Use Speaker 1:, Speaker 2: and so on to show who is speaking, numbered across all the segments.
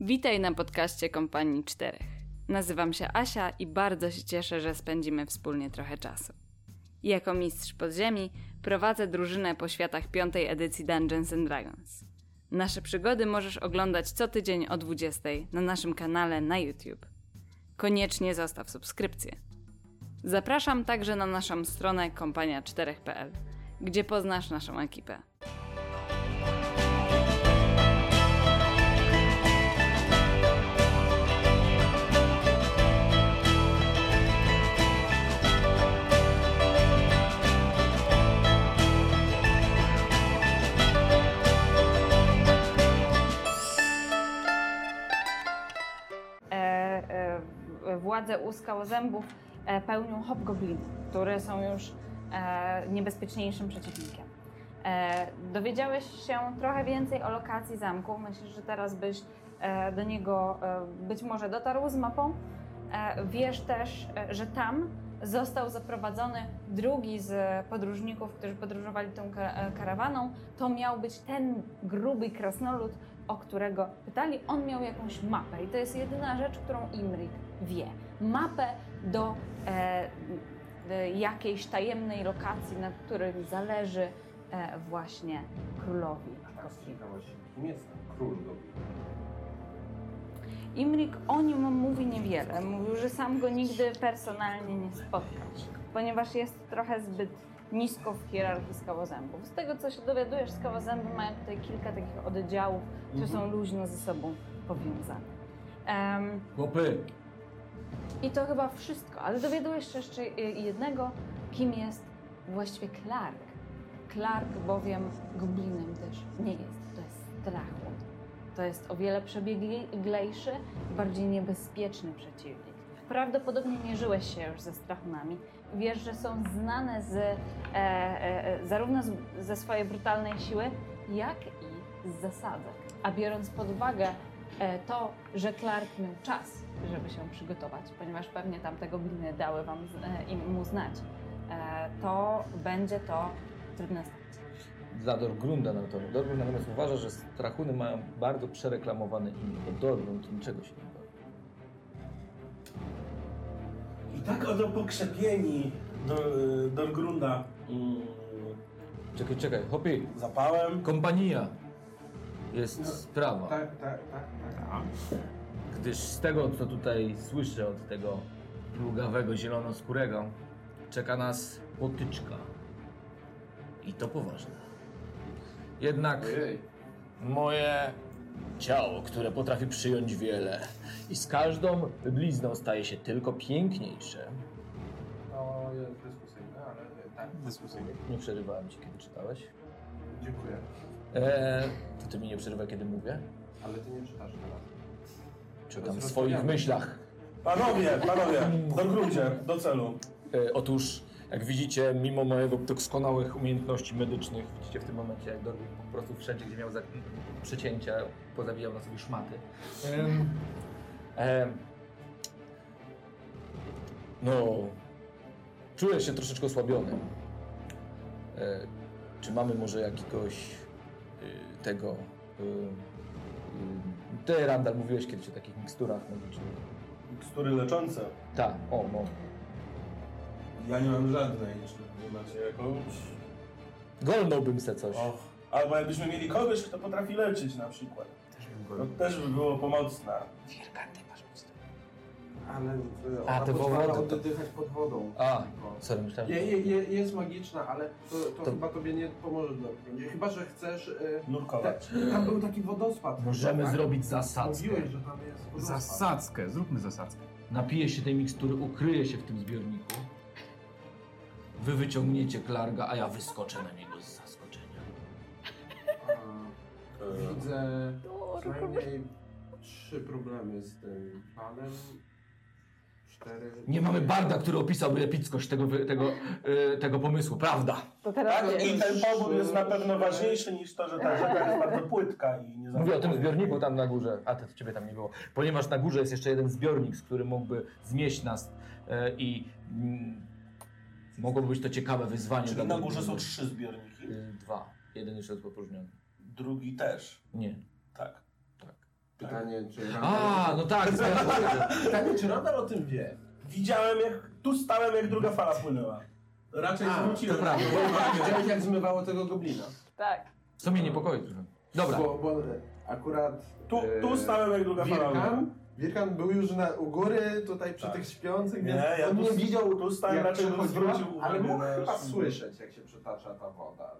Speaker 1: Witaj na podcaście Kompanii Czterech. Nazywam się Asia i bardzo się cieszę, że spędzimy wspólnie trochę czasu. Jako mistrz podziemi prowadzę drużynę po światach piątej edycji Dungeons and Dragons. Nasze przygody możesz oglądać co tydzień o 20 na naszym kanale na YouTube. Koniecznie zostaw subskrypcję. Zapraszam także na naszą stronę kompania4.pl, gdzie poznasz naszą ekipę. e, e, w- władzę uskał zębów e, pełnią hobgobliny, które są już e, niebezpieczniejszym przeciwnikiem. E, dowiedziałeś się trochę więcej o lokacji zamku. Myślę, że teraz byś e, do niego e, być może dotarł z mapą. E, wiesz też, e, że tam został zaprowadzony drugi z podróżników, którzy podróżowali tą ka- e, karawaną. To miał być ten gruby krasnolud, o którego pytali, on miał jakąś mapę i to jest jedyna rzecz, którą Imrik wie. Mapę do e, e, jakiejś tajemnej lokacji, na której zależy e, właśnie królowi.
Speaker 2: Tak,
Speaker 1: Goblin.
Speaker 2: spytałaś, kim jest król Goblin?
Speaker 1: Imrik o nim mówi niewiele. Mówił, że sam go nigdy personalnie nie spotkał, ponieważ jest trochę zbyt nisko w hierarchii skałozębów. Z tego, co się dowiadujesz, skałozęby mają tutaj kilka takich oddziałów, które są luźno ze sobą powiązane. Em,
Speaker 3: Chłopy,
Speaker 1: I to chyba wszystko, ale dowiadujesz się jeszcze y, jednego, kim jest właściwie Clark. Clark bowiem goblinem też nie jest, to jest strachun. To jest o wiele przebieglejszy, bardziej niebezpieczny przeciwnik. Prawdopodobnie mierzyłeś się już ze strachunami. Wiesz, że są znane z, e, e, e, zarówno z, ze swojej brutalnej siły, jak i z zasadzek. A biorąc pod uwagę e, to, że Clark miał czas, żeby się przygotować, ponieważ pewnie tamte gobliny dały wam, z- e, im mu znać, e, to będzie to trudne.
Speaker 3: dla Dorgrunda natomiast. Dorgrund natomiast uważa, że strachuny mają bardzo przereklamowane imię, bo Dorgrund niczego się nie boi.
Speaker 4: I tak oto pokrzepieni do, do grunda mm,
Speaker 3: Czekaj, czekaj, chłopy,
Speaker 4: zapałem.
Speaker 3: kompania jest
Speaker 2: No,
Speaker 3: sprawa,
Speaker 2: Tak, tak, tak, tak.
Speaker 4: A,
Speaker 3: gdyż z tego, co tutaj słyszę od tego plugawego zielonoskórego, czeka nas potyczka. I to poważne. Jednak...
Speaker 2: Ojej.
Speaker 3: Moje ciało, które potrafi przyjąć wiele i z każdą blizną staje się tylko piękniejsze.
Speaker 2: To jest dyskusyjne, ale tak, dyskusyjne.
Speaker 3: Nie przerywałem ci, kiedy czytałeś.
Speaker 2: Dziękuję.
Speaker 3: Eee, to ty mi nie przerywaj, kiedy mówię.
Speaker 2: Ale ty nie czytasz teraz.
Speaker 3: Czekam w swoich myślach.
Speaker 4: Panowie, panowie, do gruncie, do celu.
Speaker 3: E, otóż, jak widzicie, mimo mojego doskonałych umiejętności medycznych, widzicie w tym momencie, jak Dorwin po prostu wszędzie, gdzie miał za- przecięcia, pozawijał na sobie szmaty. Em, em, no, czuję się troszeczkę osłabiony. E, czy mamy może jakiegoś y, tego... Y, y, ty, Randall, mówiłeś kiedyś o takich miksturach medycznych.
Speaker 4: Mikstury leczące.
Speaker 3: Tak, o, no.
Speaker 4: Ja nie mam żadnej, czy nie macie jakąś?
Speaker 3: Golnąłbym se coś.
Speaker 4: Och. Albo jakbyśmy mieli kogoś, kto potrafi leczyć na przykład. To też by było pomocne.
Speaker 2: Ale y,
Speaker 3: A,
Speaker 2: ona
Speaker 3: to było
Speaker 2: pozwala
Speaker 3: wodą, to-
Speaker 2: oddychać pod wodą.
Speaker 3: A,
Speaker 2: O.
Speaker 3: sorry, myślałem,
Speaker 2: Je,
Speaker 3: że...
Speaker 2: je, je, jest magiczna, ale to, to,
Speaker 3: Tak. To-
Speaker 2: chyba tobie nie pomoże do Gruncie. Chyba, że chcesz... Y, te,
Speaker 4: Nurkować.
Speaker 2: tam był taki wodospad.
Speaker 3: Możemy
Speaker 2: tak?
Speaker 3: zrobić zasadzkę.
Speaker 2: Mówiłeś, że tam jest wodospad.
Speaker 5: Zasadzkę, zróbmy zasadzkę.
Speaker 3: Napije się tej mikstury, ukryje się w tym zbiorniku. Wy wyciągniecie Klarga, a ja wyskoczę na niego z zaskoczenia.
Speaker 2: Y,
Speaker 4: Y,
Speaker 2: e, Widzę co najmniej trzy problemy z tym planem. Cztery.
Speaker 3: Nie mamy barda, który opisałby epickość tego, wy- tego, y, tego pomysłu, prawda?
Speaker 1: To teraz
Speaker 4: Tak, i ten powód jest na pewno ważniejszy niż to, że ta rzeka
Speaker 2: Tak.
Speaker 4: jest bardzo płytka i nie
Speaker 3: Mówię o tym
Speaker 4: zapadnie.
Speaker 3: zbiorniku tam na górze. A, to ciebie tam nie było. Ponieważ na górze jest jeszcze jeden zbiornik, z który mógłby zmieść nas y, i... Mm, mogłoby być to ciekawe wyzwanie.
Speaker 4: Czyli
Speaker 3: dla
Speaker 4: Znaczy, no, na
Speaker 3: Dorgrunda.
Speaker 4: górze są trzy zbiorniki,
Speaker 3: Y, Dwa. Jeden już jest opróżniony.
Speaker 4: drugi też.
Speaker 3: Nie,
Speaker 4: Tak.
Speaker 3: tak.
Speaker 2: Pytanie, czy...
Speaker 3: A, no tak, zgadza się.
Speaker 2: Pytanie, czy radar o tym wie?
Speaker 4: Widziałem jak, tu stałem jak druga fala płynęła. Raczej
Speaker 2: A,
Speaker 4: zwróciłem.
Speaker 3: to prawda.
Speaker 2: Widziałeś, jak zmywało tego goblina.
Speaker 1: Tak.
Speaker 3: Co mnie niepokoi trochę. Dobra,
Speaker 2: Bo, bo akurat... e,
Speaker 4: Tu,
Speaker 3: Yy,
Speaker 4: tu stałem jak druga fala płynęła.
Speaker 2: Wirkan, Wirkan był już na, u góry, tutaj przy
Speaker 4: Tak.
Speaker 2: tych śpiących,
Speaker 4: Nie,
Speaker 2: więc
Speaker 4: ja
Speaker 2: on
Speaker 4: tu-
Speaker 2: nie widział,
Speaker 4: tu stałem,
Speaker 2: jak
Speaker 4: raczej bym
Speaker 2: przechodziła,
Speaker 4: zwrócił
Speaker 2: ale
Speaker 4: uwagę
Speaker 2: mógł
Speaker 4: na
Speaker 2: chyba
Speaker 4: szum.
Speaker 2: słyszeć, jak się przetacza ta woda.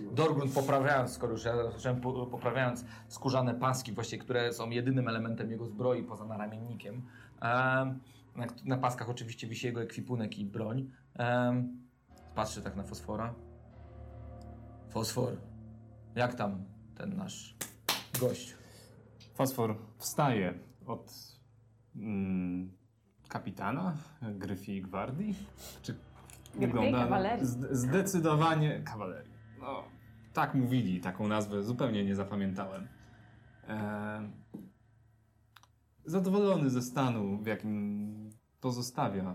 Speaker 2: No.
Speaker 3: Dorgrun poprawiając, skoro już ja zacząłem po- poprawiając skórzane paski, właśnie, które są jedynym elementem jego zbroi poza naramiennikiem. em, na, kt- na paskach oczywiście wisi jego ekwipunek i broń. Em, patrzę tak na fosfora. Fosfor, jak tam ten nasz gość?
Speaker 5: Fosfor wstaje od mm, kapitana Gryfii Gwardii. Czy
Speaker 1: Gryfii Kawalerii.
Speaker 5: zde- zdecydowanie kawalerii. No, tak mówili, taką nazwę zupełnie nie zapamiętałem. E, zadowolony ze stanu, w jakim pozostawia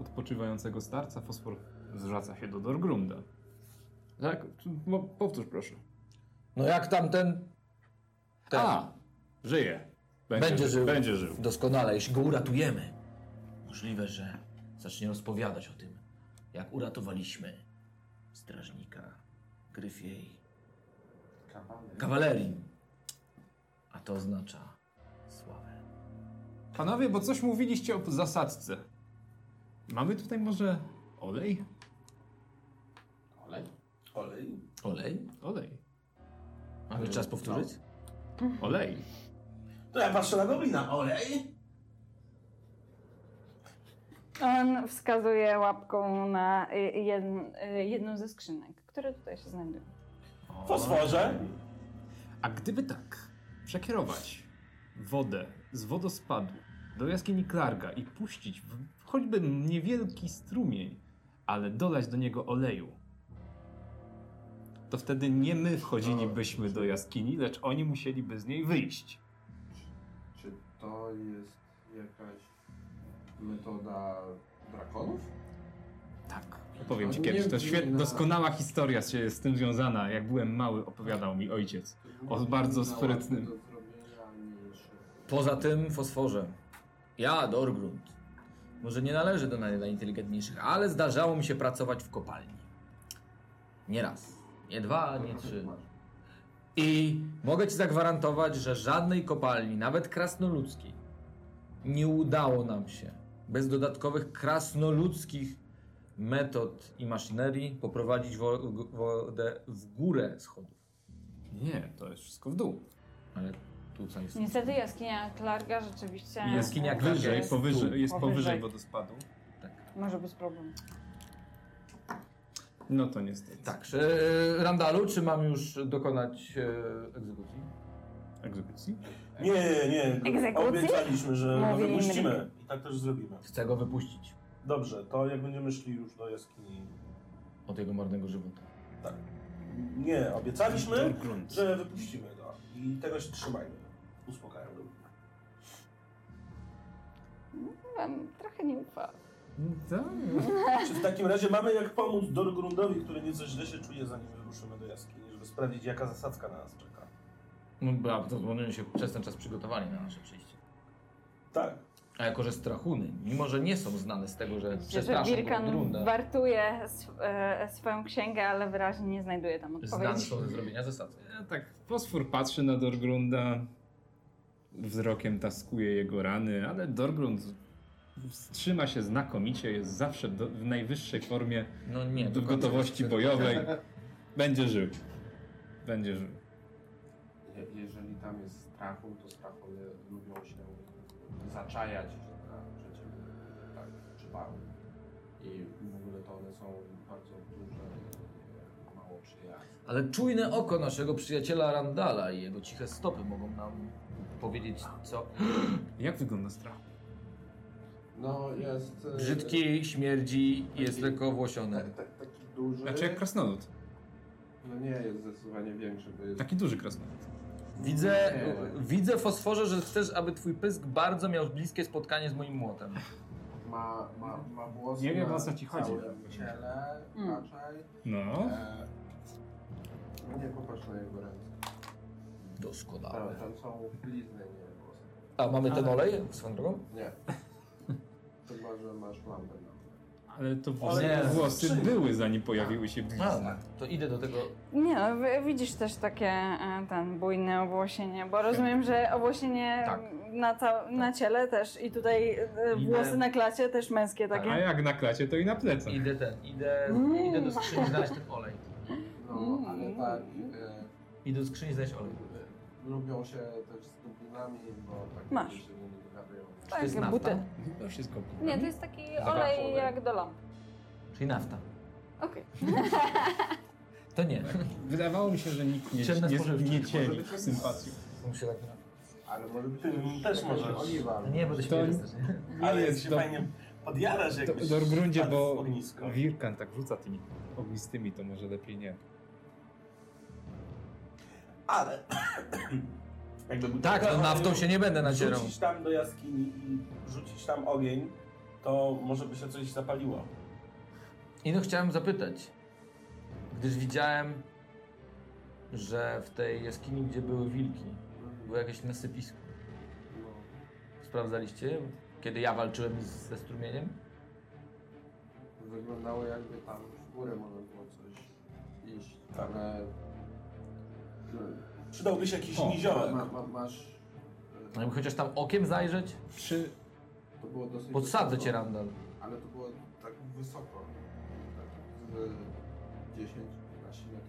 Speaker 5: odpoczywającego starca, Fosfor zwraca się do Dorgrunda. Tak, Mo- powtórz proszę.
Speaker 3: No jak tam ten... ten?
Speaker 5: A, żyje.
Speaker 3: Tak. Będzie żył.
Speaker 5: Będzie żył.
Speaker 3: Doskonale, jeśli go uratujemy, możliwe, że zacznie rozpowiadać o tym, jak uratowaliśmy strażnika Gryfiej kawalerii. A to oznacza sławę.
Speaker 5: Panowie, bo coś mówiliście o zasadce. Mamy tutaj może olej?
Speaker 2: Olej?
Speaker 4: Olej.
Speaker 3: Olej?
Speaker 5: Olej.
Speaker 3: Mamy czas powtórzyć?
Speaker 5: Olej.
Speaker 4: To ja patrzę na goblina. Olej?
Speaker 1: On wskazuje łapką na y, jed, y, jedną ze skrzynek, które tutaj się znajdują.
Speaker 4: Fosforze?
Speaker 5: A gdyby tak przekierować wodę z wodospadu do jaskini Klarga i puścić w choćby niewielki strumień, ale dolać do niego oleju, to wtedy nie my wchodzilibyśmy do jaskini, lecz oni musieliby z niej wyjść.
Speaker 2: Czy to jest jakaś metoda drakonów?
Speaker 5: Tak. Opowiem ci
Speaker 2: Nie
Speaker 5: kiedyś. To
Speaker 2: brzmi
Speaker 5: świetna,
Speaker 2: na-
Speaker 5: doskonała historia się z tym związana. Jak byłem mały, opowiadał mi ojciec. O, bardzo
Speaker 2: Na łatwo
Speaker 5: sprytnym.
Speaker 2: do zrobienia niż-
Speaker 3: Poza tym fosforze. Ja, Dorgrund. Może nie należy do najinteligentniejszych, ale zdarzało mi się pracować w kopalni. Nie raz. Nie dwa, nie trzy. I mogę ci zagwarantować, że żadnej kopalni, nawet krasnoludzkiej, nie udało nam się bez dodatkowych krasnoludzkich metod i maszynerii poprowadzić wo- g- wodę w górę schodów.
Speaker 5: Nie, to jest wszystko w dół.
Speaker 3: Ale tu co jest?
Speaker 1: Niestety jaskinia Klarga rzeczywiście
Speaker 5: I jaskinia
Speaker 1: e,
Speaker 5: wyżej,
Speaker 1: jest-
Speaker 5: powyżej, jest
Speaker 1: Powyżej.
Speaker 5: powyżej wodospadu.
Speaker 1: może być problem.
Speaker 5: No to niestety.
Speaker 3: Tak, e, Randalu, czy mam już dokonać e, egzekucji?
Speaker 5: Egzekucji?
Speaker 4: Nie, nie, nie.
Speaker 1: Egzekucji?
Speaker 4: Obiecaliśmy, że go
Speaker 1: Mówili
Speaker 4: wypuścimy. I tak też zrobimy.
Speaker 3: Chcę go wypuścić
Speaker 4: Dobrze, to jak będziemy szli już do jaskini.
Speaker 3: od jego marnego żywota.
Speaker 4: Nie, obiecaliśmy,
Speaker 5: Grunt.
Speaker 4: że wypuścimy go. I tego się trzymajmy. Uspokajam go.
Speaker 1: Wam trochę nie ufa.
Speaker 5: No tak.
Speaker 4: Czy w takim razie mamy jak pomóc Dorgrundowi, który nieco źle się czuje, zanim wyruszymy do jaskini, żeby sprawdzić, jaka zasadzka na nas czeka?
Speaker 3: No, bo to oni się przez ten czas przygotowali na nasze przyjście.
Speaker 4: Tak.
Speaker 3: A jako, że strachuny, mimo że nie są znane z tego, że
Speaker 1: Widzicie, że
Speaker 3: przestraszą
Speaker 1: Birkan
Speaker 3: Grundrunda,
Speaker 1: wartuje sw- e, swoją księgę, ale wyraźnie nie znajduje tam
Speaker 3: znane
Speaker 1: odpowiedzi.
Speaker 3: są ze zrobienia zasady.
Speaker 5: Ja tak, fosfor patrzy na Dorgrunda, wzrokiem taskuje jego rany, ale Dorgrund trzyma się znakomicie, jest zawsze do, w najwyższej formie
Speaker 3: No nie,
Speaker 5: w gotowości bojowej. Będzie żył. Będzie żył.
Speaker 2: Je- Jeżeli tam jest strachu, to strachu lubią się zaczajać na przeciw tak, przypału. I w ogóle to one są bardzo duże i mało przyjazne.
Speaker 3: Ale czujne oko naszego przyjaciela Randala i jego ciche stopy mogą nam powiedzieć co.
Speaker 5: Jak wygląda strach?
Speaker 2: No jest... e,
Speaker 3: Brzydki, śmierdzi, jest
Speaker 2: Taki-
Speaker 3: lekko
Speaker 2: Tak,
Speaker 3: włosiony.
Speaker 2: tak, taki duży.
Speaker 5: Znaczy jak krasnolud.
Speaker 2: No nie, jest zdecydowanie większy, bo jest...
Speaker 5: Taki duży krasnolud.
Speaker 3: Widzę,
Speaker 2: Nie.
Speaker 3: widzę fosforze, że chcesz, aby twój pysk bardzo miał bliskie spotkanie z moim młotem.
Speaker 2: Ma, ma, ma włosy
Speaker 5: Nie wiem,
Speaker 2: na
Speaker 5: o co ci chodzi.
Speaker 2: całym ciele,
Speaker 1: Mm.
Speaker 2: raczej. No
Speaker 5: No.
Speaker 2: E, nie popatrz na jego ręce.
Speaker 3: Doskonale.
Speaker 2: Tam, tam są blizny, nie włosy.
Speaker 3: A mamy ten olej swoją drogą?
Speaker 2: Nie. Chyba, że masz lampę na
Speaker 5: Ale to włosy,
Speaker 3: nie.
Speaker 5: włosy były, zanim pojawiły się
Speaker 3: A, tak.
Speaker 5: blizny.
Speaker 3: to idę do tego.
Speaker 1: Nie, no, wy- widzisz też takie e, ten bujne owłosienie, bo rozumiem, że owłosienie
Speaker 3: Tak.
Speaker 1: na, ca- na ciele też i tutaj e, włosy na klacie też męskie
Speaker 3: Tak.
Speaker 1: takie.
Speaker 5: A jak na klacie, to i na plecach.
Speaker 3: Idę ten, idę,
Speaker 1: Mm.
Speaker 3: idę do skrzyni znaleźć ten olej.
Speaker 2: No, ale tak, e,
Speaker 3: Idę do skrzyni znaleźć olej.
Speaker 2: lubią się też z dublinami, bo tak
Speaker 1: Masz.
Speaker 2: ludzie się nie dogadują.
Speaker 3: to jest nafta?
Speaker 1: buty.
Speaker 5: To wszystko.
Speaker 1: Nie, to jest taki
Speaker 3: Dobra,
Speaker 1: olej
Speaker 3: olej.
Speaker 1: jak do lamp.
Speaker 3: Czyli nafta.
Speaker 1: Okej.
Speaker 3: To nie.
Speaker 5: Wydawało mi się, że nikt nie,
Speaker 3: Ciemne
Speaker 5: nie,
Speaker 3: spożywki.
Speaker 5: nie cieni
Speaker 2: Może być
Speaker 5: sympatii.
Speaker 3: Muszę tak.
Speaker 2: Ale może być
Speaker 4: Ty też
Speaker 2: jakaś
Speaker 4: możesz.
Speaker 2: oliwa.
Speaker 3: Nie, bo to się
Speaker 5: To-
Speaker 3: wyjdzie też, nie?
Speaker 4: E, Ale jest
Speaker 5: jest
Speaker 4: się
Speaker 5: do-
Speaker 4: fajnie podjarasz
Speaker 5: Do,
Speaker 4: jakbyś
Speaker 5: do gruncie,
Speaker 4: spadł z
Speaker 5: bo
Speaker 4: ogniska.
Speaker 5: Wirkan tak rzuca tymi ognistymi, to może lepiej nie.
Speaker 4: Ale... Jakby był
Speaker 3: Tak,
Speaker 4: taka-
Speaker 3: no naftą się nie będę nacierał.
Speaker 4: Rzucić tam do jaskini i rzucić tam ogień, to może by się coś zapaliło.
Speaker 3: I no chciałem zapytać, gdyż widziałem, że w tej jaskini, gdzie były wilki, było jakieś nasypisko. Sprawdzaliście, kiedy ja walczyłem z, ze strumieniem?
Speaker 2: No, wyglądało jakby tam w górę może było coś iść,
Speaker 4: Tak.
Speaker 2: ale
Speaker 4: Przydałby się jakiś
Speaker 5: O, tak,
Speaker 2: ale ma,
Speaker 4: niziołek.
Speaker 2: ma, masz,
Speaker 3: No jakby chociaż tam okiem zajrzeć?
Speaker 5: Przy,
Speaker 2: e, to było dosyć
Speaker 3: Podsadzę
Speaker 2: wysoko,
Speaker 3: cię, Randall.
Speaker 2: Ale to było tak wysoko, tak z 10-15 metrów.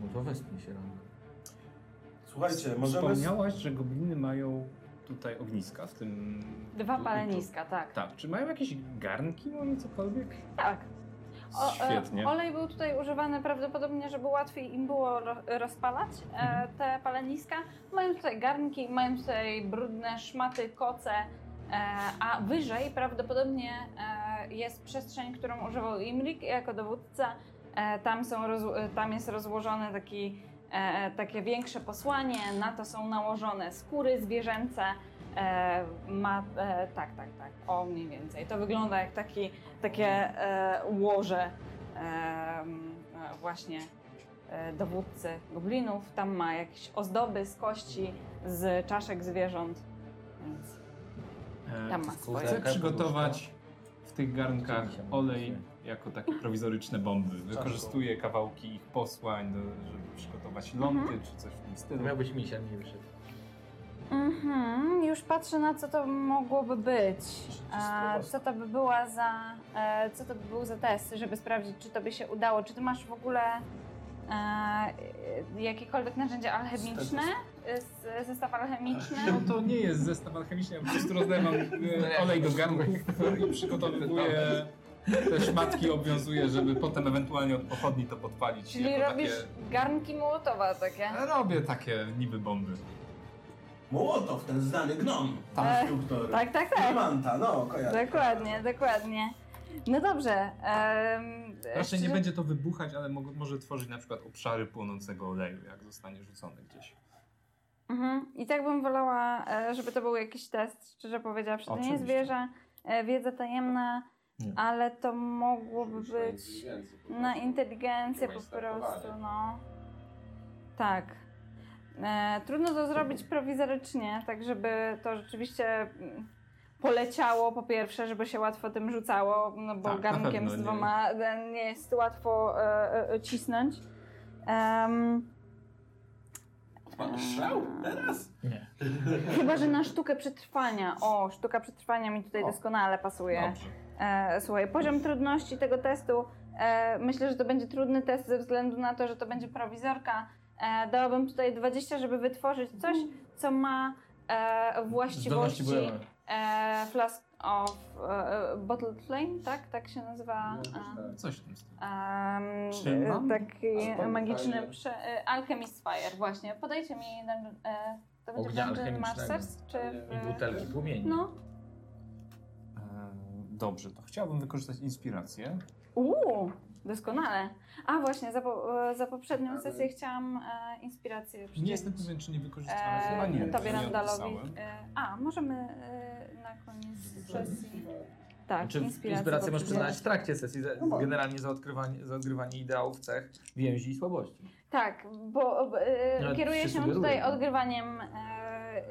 Speaker 3: No to wespnij się, Randall.
Speaker 4: Słuchajcie, możemy...
Speaker 5: Wspomniałaś, że gobliny mają tutaj ogniska w tym...
Speaker 1: Dwa
Speaker 5: tu-
Speaker 1: paleniska, tak.
Speaker 5: Tak, czy mają jakieś garnki no, może cokolwiek?
Speaker 1: Tak. O, e,
Speaker 5: Świetnie.
Speaker 1: olej był tutaj używany prawdopodobnie, żeby łatwiej im było ro- rozpalać e, te paleniska. Mają tutaj garnki, mają tutaj brudne szmaty, koce, e, a wyżej prawdopodobnie e, jest przestrzeń, którą używał Imrik jako dowódca. E, tam, są rozło- e, tam jest rozłożone taki, e, takie większe posłanie, na to są nałożone skóry zwierzęce. E, ma, e, tak, tak, tak, o mniej więcej. To wygląda jak taki takie e, łoże e, m, e, właśnie e, dowódcy goblinów. Tam ma jakieś ozdoby z kości, z czaszek zwierząt. Więc
Speaker 5: E,
Speaker 1: tam ma
Speaker 5: Chcę
Speaker 1: swoje.
Speaker 3: Taka
Speaker 5: przygotować w tych garnkach
Speaker 3: Dzięki.
Speaker 5: olej jako takie prowizoryczne bomby. Wykorzystuję kawałki ich posłań, do, żeby przygotować lądy czy coś w tym
Speaker 3: To
Speaker 5: stylu.
Speaker 3: miałbyś misia, nie wyszedł.
Speaker 1: Mhm, już patrzę na co to mogłoby być. A, co to by była za. E, co to by był za test, żeby sprawdzić, czy to by się udało? Czy ty masz w ogóle e, jakiekolwiek narzędzia alchemiczne? E, s- Zestaw alchemiczny?
Speaker 5: No to nie jest zestaw alchemiczny, ja po prostu rozlewam e, olej do garnków i przygotowuję te szmatki, obwiązuję, żeby potem ewentualnie od pochodni to podpalić.
Speaker 1: Czyli
Speaker 5: jako
Speaker 1: robisz garnki mołotowa takie.
Speaker 5: Takie, robię takie niby bomby.
Speaker 4: Mołotow, ten znany gnom.
Speaker 1: Tak.
Speaker 4: Instruktor.
Speaker 1: Tak, tak, tak.
Speaker 4: Diamanta, no, kojarzę.
Speaker 1: Dokładnie, dokładnie. No dobrze. em,
Speaker 5: Raczej Znaczy, nie
Speaker 1: szczerze-
Speaker 5: będzie to wybuchać, ale mo- może tworzyć na przykład obszary płonącego oleju, jak zostanie rzucony gdzieś.
Speaker 1: Mhm. I tak bym wolała, e, żeby to był jakiś test, szczerze powiedziawszy. To nie jest
Speaker 5: Oczywiście.
Speaker 1: wieża, e, wiedza tajemna,
Speaker 3: Nie.
Speaker 1: ale to mogłoby
Speaker 2: Myślę, że
Speaker 1: być
Speaker 2: inteligencji po
Speaker 1: na
Speaker 2: prostu.
Speaker 1: inteligencję po
Speaker 2: Chyba startowanie.
Speaker 1: prostu, no. Tak. E, trudno to zrobić prowizorycznie, tak żeby to rzeczywiście mm, poleciało po pierwsze, żeby się łatwo tym rzucało, no bo
Speaker 5: Tak, na
Speaker 1: garnkiem
Speaker 5: pewno
Speaker 1: z
Speaker 5: nie.
Speaker 1: dwoma e, nie, nie jest łatwo e, e, e, cisnąć. Em,
Speaker 4: Pan szał teraz?
Speaker 3: Nie.
Speaker 1: chyba, że na sztukę przetrwania. O, sztuka przetrwania mi tutaj
Speaker 5: O. No.
Speaker 1: doskonale pasuje.
Speaker 5: Dobrze.
Speaker 1: E, słuchaj, poziom trudności tego testu, e, myślę, że to będzie trudny test ze względu na to, że to będzie prowizorka. E, dałabym tutaj 20, żeby wytworzyć coś, co ma e,
Speaker 3: Zdolności
Speaker 1: właściwości
Speaker 3: były.
Speaker 1: e, Flask of e, Bottled Flame, tak? Tak się nazywa.
Speaker 2: No,
Speaker 1: E,
Speaker 2: tak.
Speaker 5: Coś w tym stylu.
Speaker 1: Um,
Speaker 5: Czy mam?
Speaker 1: taki
Speaker 2: Alchemist
Speaker 1: magiczny
Speaker 2: Fire.
Speaker 1: prze, e, Alchemist Fire, właśnie. Podajcie mi dun- e, to będzie
Speaker 3: Ognia
Speaker 1: w Dungeon
Speaker 3: alchemicznego.
Speaker 1: Masters, czy w,
Speaker 3: I butelki płomieni.
Speaker 1: No.
Speaker 5: Eee, Dobrze, to chciałbym wykorzystać inspirację.
Speaker 1: Uuu, doskonale. A właśnie, za, po, e, za poprzednią
Speaker 2: Ale-
Speaker 1: sesję chciałam e, inspirację przydzielić.
Speaker 5: Nie jestem pewien, czy nie wykorzystałem. Chyba
Speaker 1: e,
Speaker 5: nie.
Speaker 1: Tobie
Speaker 5: nie
Speaker 1: Randalowi.
Speaker 5: odpisałem.
Speaker 1: E, a, możemy e, na koniec sesji. Tak,
Speaker 3: Czy
Speaker 1: inspirację,
Speaker 3: Znaczy, inspirację
Speaker 1: poprosić.
Speaker 3: możesz przyznać w trakcie sesji, za,
Speaker 2: No bo-
Speaker 3: generalnie za odkrywanie, za odgrywanie ideałów, cech, więzi i słabości.
Speaker 1: Tak, bo e,
Speaker 3: Ale
Speaker 1: kieruję
Speaker 3: się
Speaker 1: się
Speaker 3: sugeruje,
Speaker 1: tutaj
Speaker 3: tak?
Speaker 1: odgrywaniem e, e,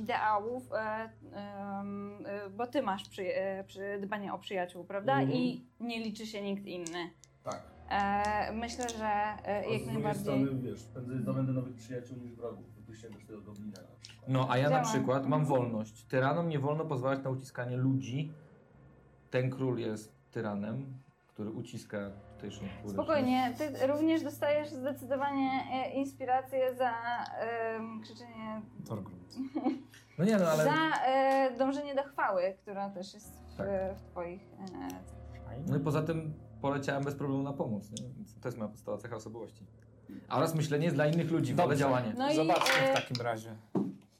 Speaker 1: ideałów, e, em, e, bo ty masz przy, e, przy dbanie o przyjaciół, prawda?
Speaker 4: Mhm.
Speaker 1: I nie liczy się nikt inny.
Speaker 4: Tak.
Speaker 1: E, myślę, że e,
Speaker 4: A
Speaker 1: jak
Speaker 4: z drugiej
Speaker 1: najbardziej.
Speaker 4: strony, wiesz, prędzej zdobędę nowych przyjaciół niż wrogów. Wypuściłem też tego goblina na przykład.
Speaker 3: No, a ja na
Speaker 1: Działam.
Speaker 3: przykład mam wolność. Tyranom nie wolno pozwalać na uciskanie ludzi. Ten król jest tyranem, który uciska tutejszą kurę.
Speaker 1: Spokojnie, ty również dostajesz zdecydowanie e, inspirację za em, krzyczenie,
Speaker 5: Torgrund.
Speaker 3: No nie no, ale...
Speaker 1: za e, dążenie do chwały, która też jest w,
Speaker 3: Tak.
Speaker 1: w twoich e,
Speaker 3: No i poza tym poleciałem bez problemu na pomoc, nie? Więc to jest moja podstawowa cecha osobowości. A oraz myślenie jest dla innych ludzi, wolę
Speaker 5: Dobrze.
Speaker 3: działanie.
Speaker 1: No i,
Speaker 5: Zobaczmy
Speaker 1: e,
Speaker 5: w takim razie.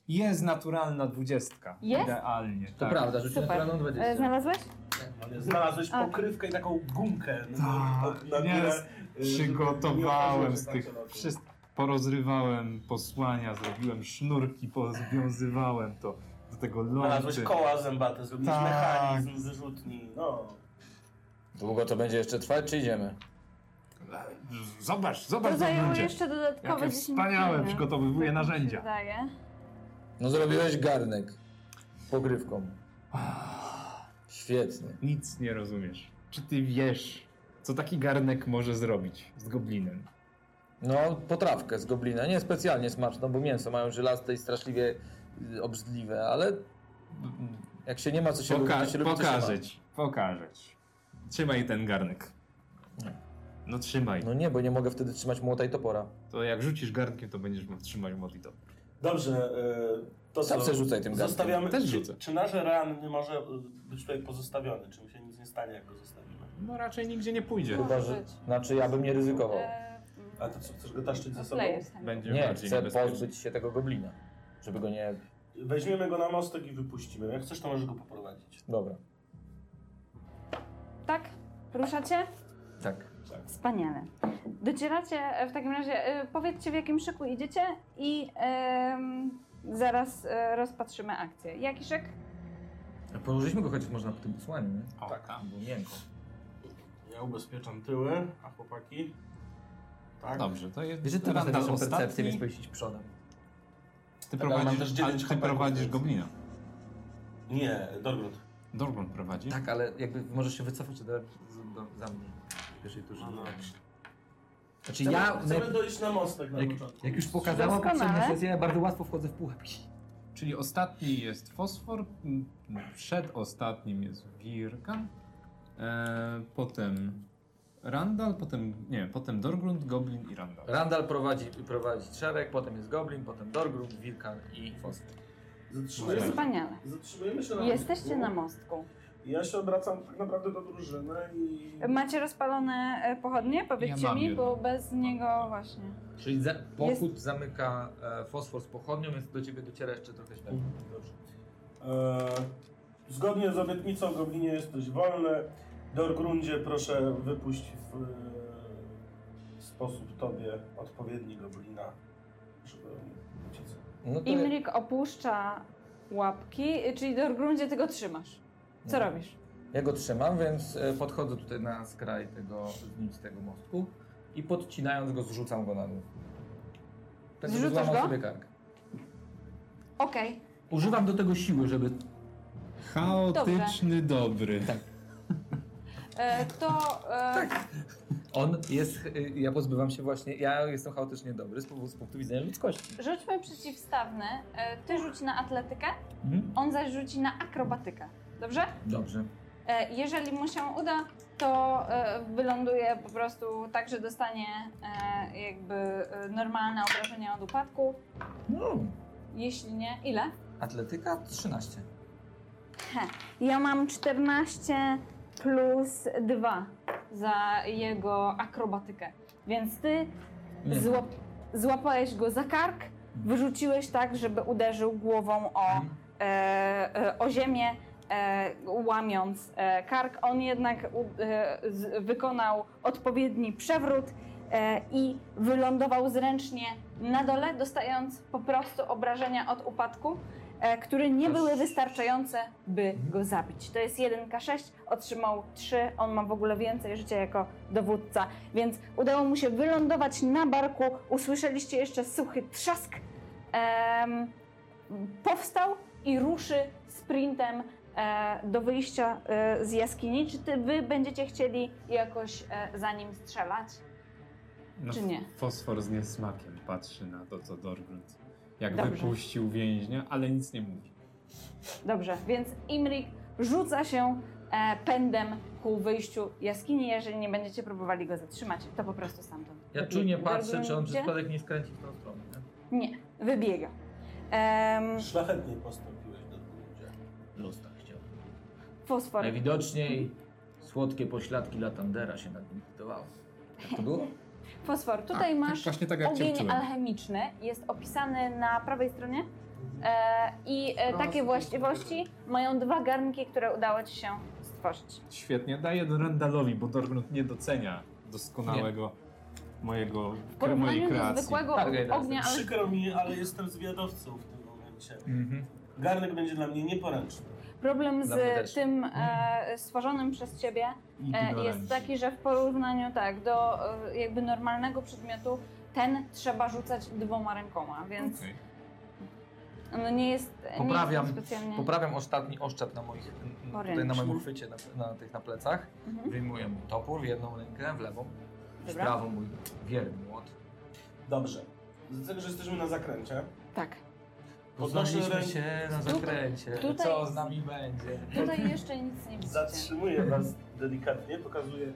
Speaker 5: Jest naturalna dwudziestka.
Speaker 1: Jest?
Speaker 5: Idealnie. tak.
Speaker 3: To prawda, rzuciłem
Speaker 1: Super.
Speaker 3: naturalną
Speaker 1: E,
Speaker 3: 20.
Speaker 1: Znalazłeś?
Speaker 4: Ale Znalazłeś
Speaker 1: A.
Speaker 4: pokrywkę i taką gumkę. no,
Speaker 5: Tak, jest.
Speaker 4: y, żeby nie okazało
Speaker 5: Przygotowałem
Speaker 4: się
Speaker 5: z
Speaker 4: tak
Speaker 5: tych
Speaker 4: szeroko.
Speaker 5: wszystkich. Porozrywałem posłania, zrobiłem sznurki, pozwiązywałem to do tego
Speaker 4: Znalazłeś
Speaker 5: lądy.
Speaker 4: koła zębate, zrobiłeś
Speaker 5: Tak.
Speaker 4: mechanizm ze rzutni. No.
Speaker 3: Długo to będzie jeszcze trwać, czy idziemy?
Speaker 5: Zobacz,
Speaker 1: To
Speaker 5: zobacz co
Speaker 1: zajęło
Speaker 5: będzie.
Speaker 1: jeszcze dodatkowe
Speaker 5: Jakie
Speaker 1: 10
Speaker 5: wspaniałe,
Speaker 1: godzin.
Speaker 5: przygotowywuje
Speaker 1: Tak mi się
Speaker 5: narzędzia.
Speaker 1: Wydaje.
Speaker 3: No zrobiłeś garnek. Pokrywką. Świetnie.
Speaker 5: Nic nie rozumiesz. Czy ty wiesz, co taki garnek może zrobić z goblinem?
Speaker 3: No, potrawkę z goblina. Nie specjalnie smaczną, bo mięso mają żylaste i straszliwie y, obrzydliwe, ale mm, jak się nie ma co się lubi,
Speaker 5: Poka-
Speaker 3: to się lubi, to się
Speaker 5: pokażę ci, pokażę ci. Trzymaj ten garnek.
Speaker 3: Nie.
Speaker 5: No trzymaj.
Speaker 3: ma. No nie, bo nie mogę wtedy trzymać młota i topora.
Speaker 5: To jak rzucisz garnkiem, to będziesz mógł trzymać modlitwę.
Speaker 4: Dobrze, y, to co?
Speaker 3: Zawsze rzucaj tym garnkiem.
Speaker 4: Zostawiamy.
Speaker 5: Też
Speaker 4: czy-
Speaker 5: rzucę.
Speaker 4: Czy nasz ran nie może y, być tutaj pozostawiony? Czy mu się nic nie stanie, jak go zostawimy?
Speaker 5: No raczej nigdzie nie pójdzie.
Speaker 1: No.
Speaker 3: Chyba, że...
Speaker 1: Może być.
Speaker 3: Znaczy ja bym nie ryzykował.
Speaker 1: E,
Speaker 4: A to co, chcesz go taszczyć
Speaker 1: No,
Speaker 4: ze sobą?
Speaker 1: Players handle.
Speaker 5: Będzie
Speaker 3: Nie,
Speaker 5: bardziej
Speaker 3: chcę
Speaker 5: niebezpieczny.
Speaker 3: pozbyć się tego goblina. Żeby go nie...
Speaker 4: Weźmiemy go na mostek i wypuścimy. Jak chcesz, to możesz go poprowadzić.
Speaker 3: Dobra.
Speaker 1: Tak? Ruszacie?
Speaker 3: Tak.
Speaker 1: Wspaniale. Docieracie e, w takim razie, e, powiedzcie w jakim szyku idziecie i em, zaraz e, rozpatrzymy akcję. Jaki szyk?
Speaker 3: Położyliśmy go chociaż można po tym posłaniu, nie?
Speaker 5: O,
Speaker 4: Tak.
Speaker 5: tak.
Speaker 3: Było miękko.
Speaker 4: Ja ubezpieczam tyły, a chłopaki? Tak.
Speaker 5: Dobrze, to jest.
Speaker 3: Wiesz, że ty masz
Speaker 5: randa
Speaker 3: najlepszą
Speaker 5: ostatni.
Speaker 3: percepcję, więc powinieneś iść przodem.
Speaker 5: Ty
Speaker 4: Tak, ale mam też
Speaker 5: prowadzisz,
Speaker 4: dziewięć
Speaker 5: ale ty
Speaker 4: chłopaków,
Speaker 5: prowadzisz
Speaker 4: więc-
Speaker 5: goblina.
Speaker 4: Nie, Dorgrud.
Speaker 5: Dorgon prowadzi.
Speaker 3: Tak, ale jakby możesz się wycofać do, do, za mnie. W pierwszej turze.
Speaker 4: No, no.
Speaker 3: Znaczy ja,
Speaker 4: Chcemy
Speaker 3: jak,
Speaker 4: dojść na mostek na
Speaker 3: jak,
Speaker 4: początku.
Speaker 3: jak już pokazałam
Speaker 1: Doskonale.
Speaker 3: poprzednią sesję, ja bardzo łatwo wchodzę w pułap.
Speaker 5: Czyli ostatni jest fosfor, m, przedostatnim jest Wirka, e, potem Randall, potem. Nie, potem Dorgrund, Goblin i Randall.
Speaker 3: Randall prowadzi, prowadzi szereg, potem jest Goblin, potem Dorgrund, Wilkan i Fosfor.
Speaker 4: Zatrzymujemy,
Speaker 1: Wspaniale.
Speaker 4: zatrzymujemy się na
Speaker 1: Jesteście
Speaker 4: mostku.
Speaker 1: na mostku.
Speaker 4: Ja się obracam tak naprawdę do drużyny i...
Speaker 1: Macie rozpalone e, pochodnie? Powiedzcie
Speaker 5: mam
Speaker 1: mi,
Speaker 5: jedno.
Speaker 1: bo bez niego właśnie.
Speaker 3: Czyli za, pochód zamyka e, Fosfor z pochodnią, więc do ciebie dociera jeszcze trochę śmierci.
Speaker 4: Dobrze. Eee, zgodnie z obietnicą Goblinie jesteś wolny. Dorgrundzie proszę wypuść w eee, sposób tobie odpowiedni Goblina, żeby uciec.
Speaker 3: No to,
Speaker 1: Imrik opuszcza łapki, e, czyli do gruncie ty go trzymasz. Co
Speaker 3: No.
Speaker 1: robisz?
Speaker 3: ja go trzymam, więc e, podchodzę tutaj na skraj tego, nic tego mostku i podcinając go zrzucam go na dół. Tak, żeby
Speaker 1: Zrzucasz
Speaker 3: złamał
Speaker 1: go?
Speaker 3: sobie kark.
Speaker 1: Okej.
Speaker 3: Używam do tego siły, żeby
Speaker 5: Chaotyczny dobry.
Speaker 1: E, To e,
Speaker 3: On jest, y, ja pozbywam się właśnie, ja jestem chaotycznie dobry z, powo- z punktu widzenia ludzkości.
Speaker 1: rzućmy przeciwstawny. E, Ty rzuć na atletykę,
Speaker 3: Mhm.
Speaker 1: on zaś rzuci na akrobatykę. Dobrze?
Speaker 3: Dobrze.
Speaker 1: E, Jeżeli mu się uda, to e, wyląduje po prostu tak, że dostanie e, jakby e, normalne obrażenia od upadku.
Speaker 3: No,
Speaker 1: Jeśli nie, ile?
Speaker 3: atletyka 13.
Speaker 1: Ja mam 14 plus 2 za jego akrobatykę. Więc ty
Speaker 3: Nie.
Speaker 1: złap, złapałeś go za kark, wyrzuciłeś tak, żeby uderzył głową o, e, e, o ziemię, e, łamiąc e, kark. On jednak u, e, z, wykonał odpowiedni przewrót e, i wylądował zręcznie na dole, dostając po prostu obrażenia od upadku, e, które nie były wystarczające, by go zabić. To jest 1K6, otrzymał 3, on ma w ogóle więcej życia jako dowódca, więc udało mu się wylądować na barku, usłyszeliście jeszcze suchy trzask, em, powstał i ruszy sprintem e, do wyjścia e, z jaskini. Czy ty, wy będziecie chcieli jakoś e, za nim strzelać?
Speaker 5: No,
Speaker 1: Czy nie?
Speaker 5: Fosfor z niesmakiem patrzy na to, co Dorgrund. Jak
Speaker 1: Dobrze.
Speaker 5: wypuścił więźnia, ale nic nie mówi.
Speaker 1: Dobrze, więc Imrik rzuca się e, pędem ku wyjściu jaskini. Jeżeli nie będziecie próbowali go zatrzymać, to po prostu stamtąd.
Speaker 3: Ja
Speaker 1: wybiegnie.
Speaker 3: czujnie
Speaker 1: Bardzo
Speaker 3: patrzę, czy on przez
Speaker 1: lubicie.
Speaker 3: przypadek nie skręci w tą stronę. nie?
Speaker 1: Nie, wybiega. Em,
Speaker 4: Szlachetnie postąpiłeś do ludzie.
Speaker 3: Los tak chciał.
Speaker 1: fosfor.
Speaker 3: Najwidoczniej słodkie pośladki Latandera się nad nim zdecydowały. Tak to było?
Speaker 1: Fosfor, tutaj
Speaker 5: A,
Speaker 1: masz
Speaker 5: Tak, właśnie tak jak cię
Speaker 1: Ogień
Speaker 5: uczyłem.
Speaker 1: alchemiczny jest opisany na prawej stronie e, i e, takie właściwości mają dwa garnki, które udało ci się stworzyć.
Speaker 5: Świetnie, daję Randalowi, bo Dorgrund nie docenia doskonałego mojego,
Speaker 1: W
Speaker 5: kre- mojej
Speaker 1: porównaniu do
Speaker 5: kreacji.
Speaker 1: zwykłego
Speaker 3: Tak, ja
Speaker 1: ognia, ale
Speaker 4: Przykro mi, ale jestem zwiadowcą w tym momencie.
Speaker 5: Mhm.
Speaker 4: Garnek będzie dla mnie nieporęczny.
Speaker 1: problem
Speaker 3: Dla mnie
Speaker 1: z
Speaker 3: też.
Speaker 1: tym e, stworzonym przez ciebie e,
Speaker 5: Ignoranci.
Speaker 1: jest taki, że w porównaniu tak do e, jakby normalnego przedmiotu ten trzeba rzucać dwoma rękoma, więc
Speaker 5: Okej.
Speaker 1: no nie jest
Speaker 3: Poprawiam-
Speaker 1: nie jest specjalnie...
Speaker 3: Poprawiam ostatni oszczep na moich, tutaj na
Speaker 1: Poręczny.
Speaker 3: moim uchwycie, na, na tych na plecach.
Speaker 1: Mhm.
Speaker 3: Wyjmuję mu topór w jedną rękę, w lewą, w
Speaker 1: Dobra.
Speaker 3: prawą mój wierny młot.
Speaker 4: Dobrze. Z tego, że jesteśmy na zakręcie,
Speaker 1: Tak.
Speaker 3: Poznaliśmy
Speaker 4: Podnoszę
Speaker 3: się na
Speaker 1: Tutaj-
Speaker 3: zakręcie,
Speaker 1: tutaj-
Speaker 3: co z nami będzie.
Speaker 1: Tutaj jeszcze nic nie widzicie.
Speaker 4: zatrzymuję was delikatnie, pokazuję.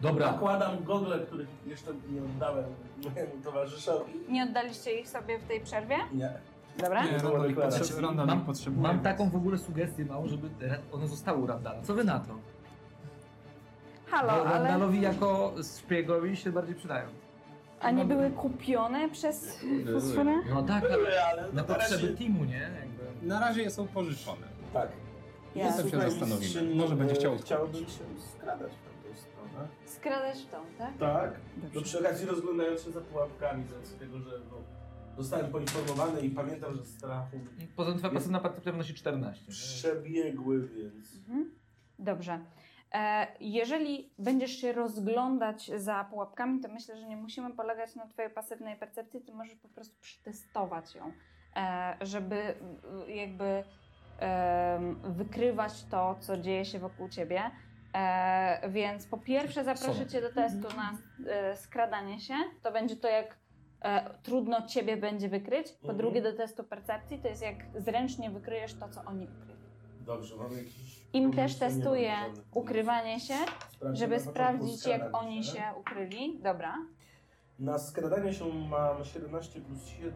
Speaker 3: Dobra,
Speaker 4: Nakładam gogle, których jeszcze nie oddałem mojemu towarzyszowi.
Speaker 1: Nie oddaliście ich sobie w tej przerwie?
Speaker 4: Nie.
Speaker 1: Dobra.
Speaker 5: Nie, Randal ich potrzeb- Randal
Speaker 3: Mam-
Speaker 5: ich potrzebuje.
Speaker 3: mam taką w ogóle sugestię małą, żeby re- one zostały u Randala. Co wy na to?
Speaker 1: Halo,
Speaker 3: Bo
Speaker 1: ale...
Speaker 3: Randalowi jako szpiegowi się bardziej przydają.
Speaker 1: A nie były kupione przez fosforę?
Speaker 3: No tak, ale
Speaker 4: Były, ale
Speaker 3: na
Speaker 4: na
Speaker 3: potrzeby
Speaker 4: razie...
Speaker 3: teamu, nie? Jakby.
Speaker 5: Na razie są pożyczone.
Speaker 4: Tak.
Speaker 1: Ja.
Speaker 5: Potem się
Speaker 4: Słuchaj,
Speaker 5: zastanowimy.
Speaker 4: mistrzyni,
Speaker 5: Może będzie
Speaker 4: e,
Speaker 5: chciał-
Speaker 4: Chciałbym się skradać w tamtą stronę.
Speaker 1: Skradasz w tą, tak?
Speaker 4: Tak. No
Speaker 1: Dobrze.
Speaker 4: przy okazji rozglądając się za pułapkami, z racji tego, że no, zostałem poinformowany i pamiętam, że strachu
Speaker 3: Poza tym twoja
Speaker 4: Jest-
Speaker 3: pasywna partia wnosi 14. nie?
Speaker 4: przebiegły, więc...
Speaker 1: Mhm. Dobrze. E, jeżeli będziesz się rozglądać za pułapkami, to myślę, że nie musimy polegać na twojej pasywnej percepcji, ty możesz po prostu przetestować ją, e, żeby m, jakby em, wykrywać to, co dzieje się wokół ciebie. E, więc po pierwsze zaproszę
Speaker 3: Sona.
Speaker 1: cię do testu na e, skradanie się. To będzie to, jak e, trudno ciebie będzie wykryć. Po
Speaker 4: Mhm.
Speaker 1: drugie do testu percepcji, to jest jak zręcznie wykryjesz to, co oni ukryli.
Speaker 4: Dobrze, mamy jakiś...
Speaker 1: Im
Speaker 4: pomysł,
Speaker 1: też
Speaker 4: że nie mam
Speaker 1: testuję
Speaker 4: żadnych-
Speaker 1: ukrywanie się,
Speaker 4: Sprawdzę na
Speaker 1: żeby
Speaker 4: początku
Speaker 1: sprawdzić, jak
Speaker 4: skradanie
Speaker 1: oni się ukryli. Dobra.
Speaker 4: Na skradanie się mam 17 plus 7, y,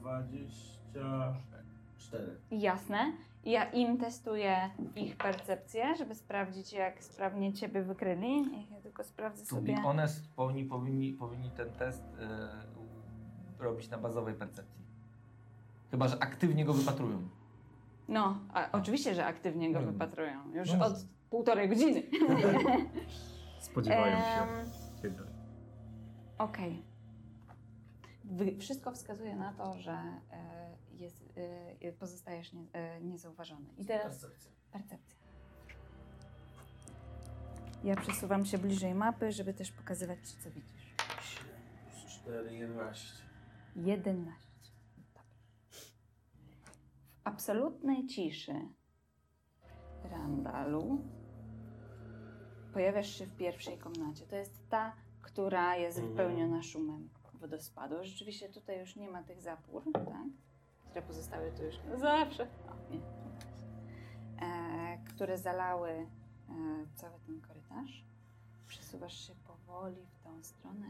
Speaker 4: 24.
Speaker 1: Jasne. Ja im testuję ich percepcję, żeby sprawdzić, jak sprawnie ciebie wykryli. Niech Ja tylko sprawdzę
Speaker 3: To be
Speaker 1: sobie.
Speaker 3: honest, powinni, powinni, powinni ten test y, robić na bazowej percepcji. Chyba, że aktywnie go wypatrują.
Speaker 1: No, a oczywiście, że aktywnie go
Speaker 3: No.
Speaker 1: wypatrują. Już
Speaker 3: No.
Speaker 1: od półtorej godziny.
Speaker 5: Spodziewają się
Speaker 1: Em,
Speaker 5: ciebie.
Speaker 1: Okej. Wy- Wszystko wskazuje na to, że e, jest, e, pozostajesz nie, e, niezauważony. I teraz
Speaker 4: Percepcja.
Speaker 1: Percepcja. Ja przesuwam się bliżej mapy, żeby też pokazywać ci, co widzisz.
Speaker 4: 7 plus 4, 11.
Speaker 1: 11. Dobra. W absolutnej ciszy Randalu pojawiasz się w pierwszej komnacie. To jest ta, która jest
Speaker 4: Mhm.
Speaker 1: wypełniona szumem wodospadu. Rzeczywiście tutaj już nie ma tych zapór, tak? które pozostały tu już na zawsze. O, nie. E, które zalały e, cały ten korytarz. Przesuwasz się powoli w tą stronę.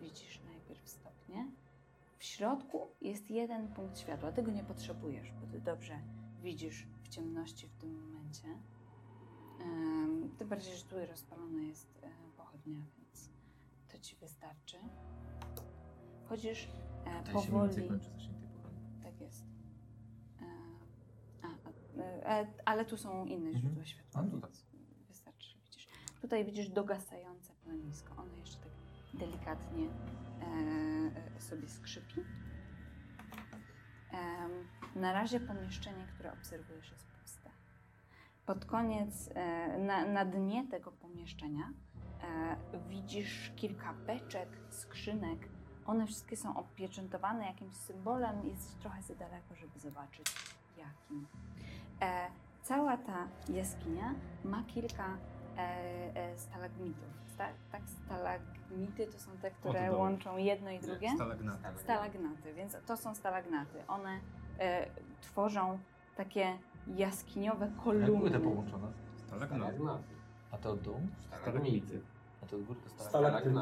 Speaker 1: Widzisz najpierw stopnie. W środku jest jeden punkt światła. Tego nie potrzebujesz, bo ty dobrze widzisz w ciemności w tym momencie. Em, Tym bardziej, że tu rozpalona jest e, pochodnia, więc to ci wystarczy. Chodzisz e, powoli. Tak jest. E, A, a, e, ale tu są inne
Speaker 3: Mhm.
Speaker 1: źródła światła.
Speaker 3: A, no tak.
Speaker 1: więc Wystarczy, widzisz. Tutaj widzisz dogasające na nisko. Ona jeszcze tak delikatnie e, e, sobie skrzypi. Em, na razie pomieszczenie, które obserwujesz, jest puste. Pod koniec, e, na, na dnie tego pomieszczenia e, widzisz kilka beczek, skrzynek. One wszystkie są opieczętowane jakimś symbolem. Jesteś trochę za daleko, żeby zobaczyć jakim. E, cała ta jaskinia ma kilka e, e, stalagmitów. Sta, tak, stalagmity to są te, które
Speaker 5: dołu.
Speaker 1: łączą jedno i drugie.
Speaker 5: Stalagnaty.
Speaker 1: Stalagnaty, więc to są stalagnaty. One e, tworzą takie jaskiniowe
Speaker 3: Jak były te
Speaker 1: kolumny.
Speaker 3: połączone?
Speaker 5: Stalagnaty.
Speaker 3: A to od dołu?
Speaker 5: Stalagmity.
Speaker 3: A to od góry? To
Speaker 4: Stalaktyny.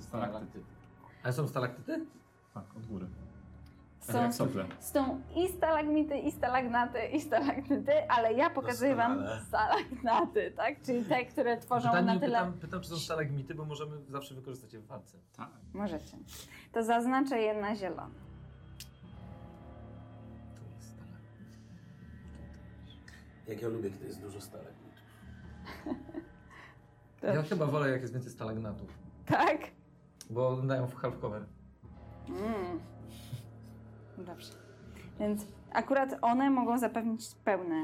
Speaker 5: Stalaktyty.
Speaker 3: Ale są stalaktyty?
Speaker 5: Tak, od góry. Tak
Speaker 1: Są,
Speaker 5: Jak sople.
Speaker 1: są i stalagmity, i stalagnaty, i stalagnyty, ale ja pokazuję wam
Speaker 4: Doskonale.
Speaker 1: stalagnaty, tak? Czyli te, które tworzą
Speaker 3: Pytanie,
Speaker 1: na tyle...
Speaker 3: pytam, pytam, czy są stalagmity, bo możemy zawsze wykorzystać je w walce.
Speaker 5: Tak.
Speaker 1: Możecie. To zaznaczę je na zielono.
Speaker 3: To jest stalagmit.
Speaker 4: Jak ja lubię, kiedy jest dużo stalagmitów.
Speaker 1: Tak.
Speaker 3: Ja chyba wolę, jak jest więcej stalagnatów,
Speaker 1: Tak?
Speaker 3: bo dają w half cover.
Speaker 1: Mm. Dobrze. Więc akurat one mogą zapewnić pełne, e,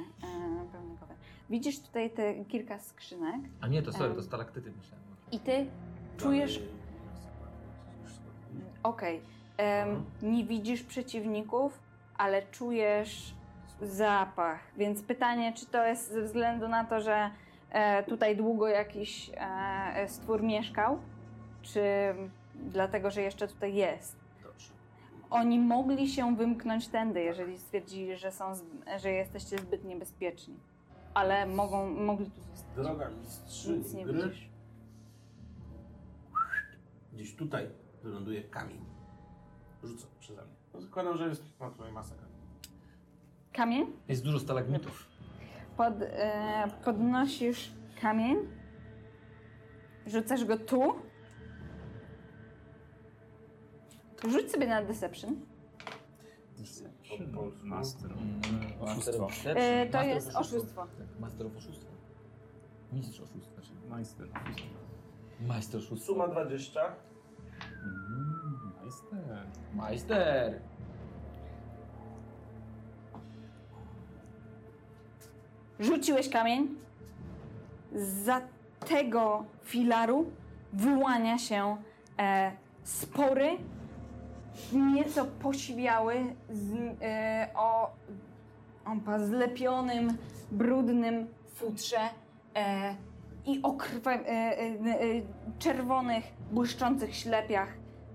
Speaker 1: pełne cover. Widzisz tutaj te kilka skrzynek
Speaker 3: A nie, to sorry,
Speaker 1: Em.
Speaker 3: to stalaktyty myślałem.
Speaker 1: i ty czujesz Okej. em, Nie widzisz przeciwników, ale czujesz zapach. Więc pytanie, czy to jest ze względu na to, że e, tutaj długo jakiś e, e, stwór mieszkał, czy dlatego, że jeszcze tutaj jest?
Speaker 4: Dobrze.
Speaker 1: Oni mogli się wymknąć tędy, jeżeli stwierdzili, że, są, z- że jesteście zbyt niebezpieczni. Ale mogą, mogli tu zostać.
Speaker 4: Droga
Speaker 1: Nic nie
Speaker 4: mistrzyni gry,
Speaker 1: widzisz.
Speaker 4: gdzieś tutaj wyląduje kamień. Rzucę przeze mnie. No, zakładam, że jest na twojej masę kamień.
Speaker 1: Kamień?
Speaker 3: Jest dużo stalagmitów.
Speaker 1: Pod, e, podnosisz kamień, rzucasz go tu. Rzuć sobie na deception.
Speaker 4: Po polsku.
Speaker 5: Master.
Speaker 3: Mm,
Speaker 5: Oszustwo.
Speaker 3: master-
Speaker 1: E, to
Speaker 3: master
Speaker 1: jest oszustwo.
Speaker 3: Tak, master of oszustwo. Mistrz oszustwa. Znaczy
Speaker 5: Majster.
Speaker 3: majster oszustwa.
Speaker 4: Suma 20.
Speaker 5: Mm, Majster.
Speaker 3: Majster!
Speaker 1: Rzuciłeś kamień. Za tego filaru wyłania się e, spory, nieco posiwiały, z, e, o opa, zlepionym, brudnym futrze e, i o krwa, e, e, e, czerwonych, błyszczących ślepiach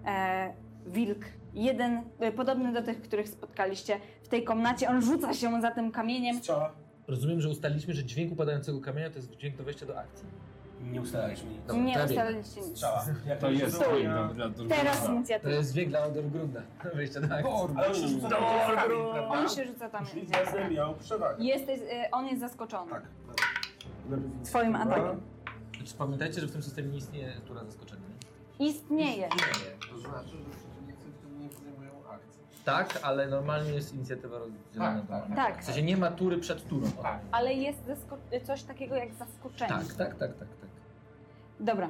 Speaker 1: e, wilk. Jeden e, podobny do tych, których spotkaliście w tej komnacie. On rzuca się za tym kamieniem.
Speaker 4: Strzała.
Speaker 3: Rozumiem, że ustaliliśmy, że dźwięk upadającego kamienia to jest dźwięk do wejścia do akcji.
Speaker 4: Nie ustaliliśmy nic.
Speaker 3: Dobra, to
Speaker 1: nie
Speaker 3: ja biegnę.
Speaker 1: ustaliliście nic.
Speaker 4: Strzała. Jak
Speaker 5: To
Speaker 4: mi się
Speaker 5: jest
Speaker 4: wyłania-
Speaker 5: dźwięk dla- dla drugiego.
Speaker 1: Teraz
Speaker 5: Tak.
Speaker 3: To
Speaker 1: inicjatywa.
Speaker 3: jest dźwięk dla Undergrunda. Wejście do akcji.
Speaker 4: Ale on się rzuca na kamień, prawda?
Speaker 1: On się rzuca tam.
Speaker 4: Czyli razem miał przewagę.
Speaker 1: Jesteś, y, on jest zaskoczony.
Speaker 4: Tak. Najpierw
Speaker 1: Twoim
Speaker 4: inicjatywa.
Speaker 1: atakiem.
Speaker 3: Znaczy, pamiętajcie, że w tym systemie nie istnieje tura zaskoczenia.
Speaker 1: Istnieje.
Speaker 3: Istnieje.
Speaker 2: To znaczy, że przeciwnicy w tym nie podejmują akcji.
Speaker 3: Tak, ale normalnie jest inicjatywa rozdzielona.
Speaker 2: Tak, tak,
Speaker 3: normalnie.
Speaker 1: Tak,
Speaker 3: W sensie nie ma tury przed turą.
Speaker 2: Tak.
Speaker 1: ale jest zasko- coś takiego jak zaskoczenie.
Speaker 3: Tak, tak, tak, tak, tak.
Speaker 1: Dobra.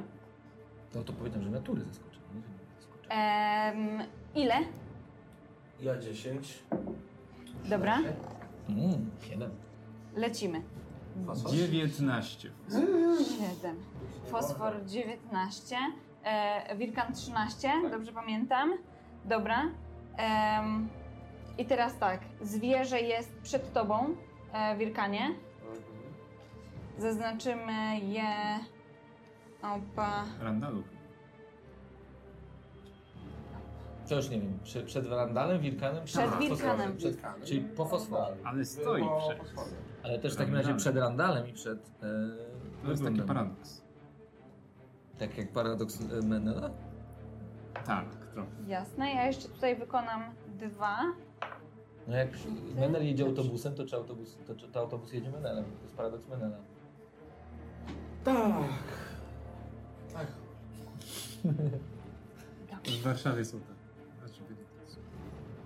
Speaker 3: No to powiedziałem, że natury zaskoczenia. nie że nie zaskoczenia.
Speaker 1: E. Em, ile?
Speaker 4: Ja 10.
Speaker 1: Dobra.
Speaker 3: Mm, siedem.
Speaker 1: Lecimy.
Speaker 5: tak. 19.
Speaker 1: Siedem. Fosfor 19. E, Wirkan 13, dobrze pamiętam. Dobra. Em, I teraz tak. Zwierzę jest przed tobą, e, Wirkanie.
Speaker 2: Mhm.
Speaker 1: Zaznaczymy je. Opa.
Speaker 5: Randalu.
Speaker 3: To już nie wiem, przed, przed Randalem, Wilkanem?
Speaker 1: Przed
Speaker 3: A,
Speaker 1: Wilkanem.
Speaker 3: fosforem, Przed,
Speaker 2: Wilkanem.
Speaker 3: czyli po fosforze.
Speaker 5: Ale stoi
Speaker 2: Po
Speaker 5: przecież.
Speaker 2: fosforze.
Speaker 3: Ale też w takim razie przed Randalem i przed... e,
Speaker 5: To jest taki
Speaker 3: Grundem.
Speaker 5: paradoks.
Speaker 3: Tak jak paradoks e, Menela?
Speaker 5: Tak, trochę.
Speaker 1: Jasne, ja jeszcze tutaj wykonam dwa.
Speaker 3: No jak Menel jedzie
Speaker 1: Znaczy-
Speaker 3: autobusem, to czy autobus, to, czy to autobus jedzie Menelem? To jest paradoks Menela.
Speaker 4: Tak.
Speaker 5: W Warszawie są te. Znaczy, byli tacy.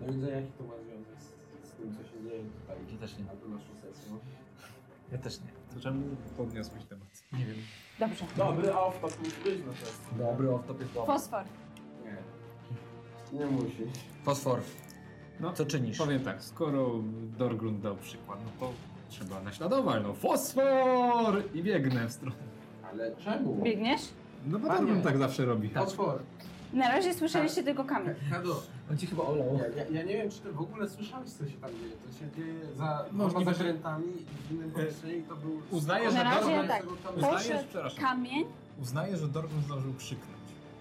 Speaker 2: No widzę, jaki to ma związek z, z tym, co się dzieje tutaj.
Speaker 3: Ja też nie.
Speaker 2: Na to naszą sesję.
Speaker 3: Ja też nie.
Speaker 5: To czemu podniosłeś temat?
Speaker 3: Nie wiem.
Speaker 1: Dobrze.
Speaker 4: Dobry off-top musi być na test.
Speaker 3: Dobry, off-top jest dobry.
Speaker 6: Fosfor.
Speaker 2: Nie. Nie musi.
Speaker 3: Fosfor.
Speaker 5: No,
Speaker 3: Co czynisz?
Speaker 5: Powiem tak, skoro Dorgrund dał przykład, no to trzeba naśladować, no fosfor! I biegnę w stronę.
Speaker 2: Ale czemu?
Speaker 6: Biegniesz?
Speaker 5: No bo
Speaker 2: Panie.
Speaker 5: Dorgrund tak zawsze robi.
Speaker 2: Otwór.
Speaker 6: Na razie
Speaker 5: Tak.
Speaker 6: słyszeliście tylko kamień.
Speaker 2: Kado,
Speaker 3: On ci chyba olał.
Speaker 2: ja, ja, ja nie wiem, czy ty w ogóle słyszałeś, co się tam dzieje. To się dzieje za
Speaker 5: Możliwe,
Speaker 2: dwoma
Speaker 5: że- E,
Speaker 2: zakrętami i w innym pomieszczeniu i to był...
Speaker 5: Uznaję, że
Speaker 6: Na razie
Speaker 5: Dorgrund...
Speaker 6: tak.
Speaker 5: Uznaję,
Speaker 6: Poszedł
Speaker 5: przepraszam.
Speaker 6: Kamień?
Speaker 5: Uznaję, że Dorgrund zdążył krzyknąć.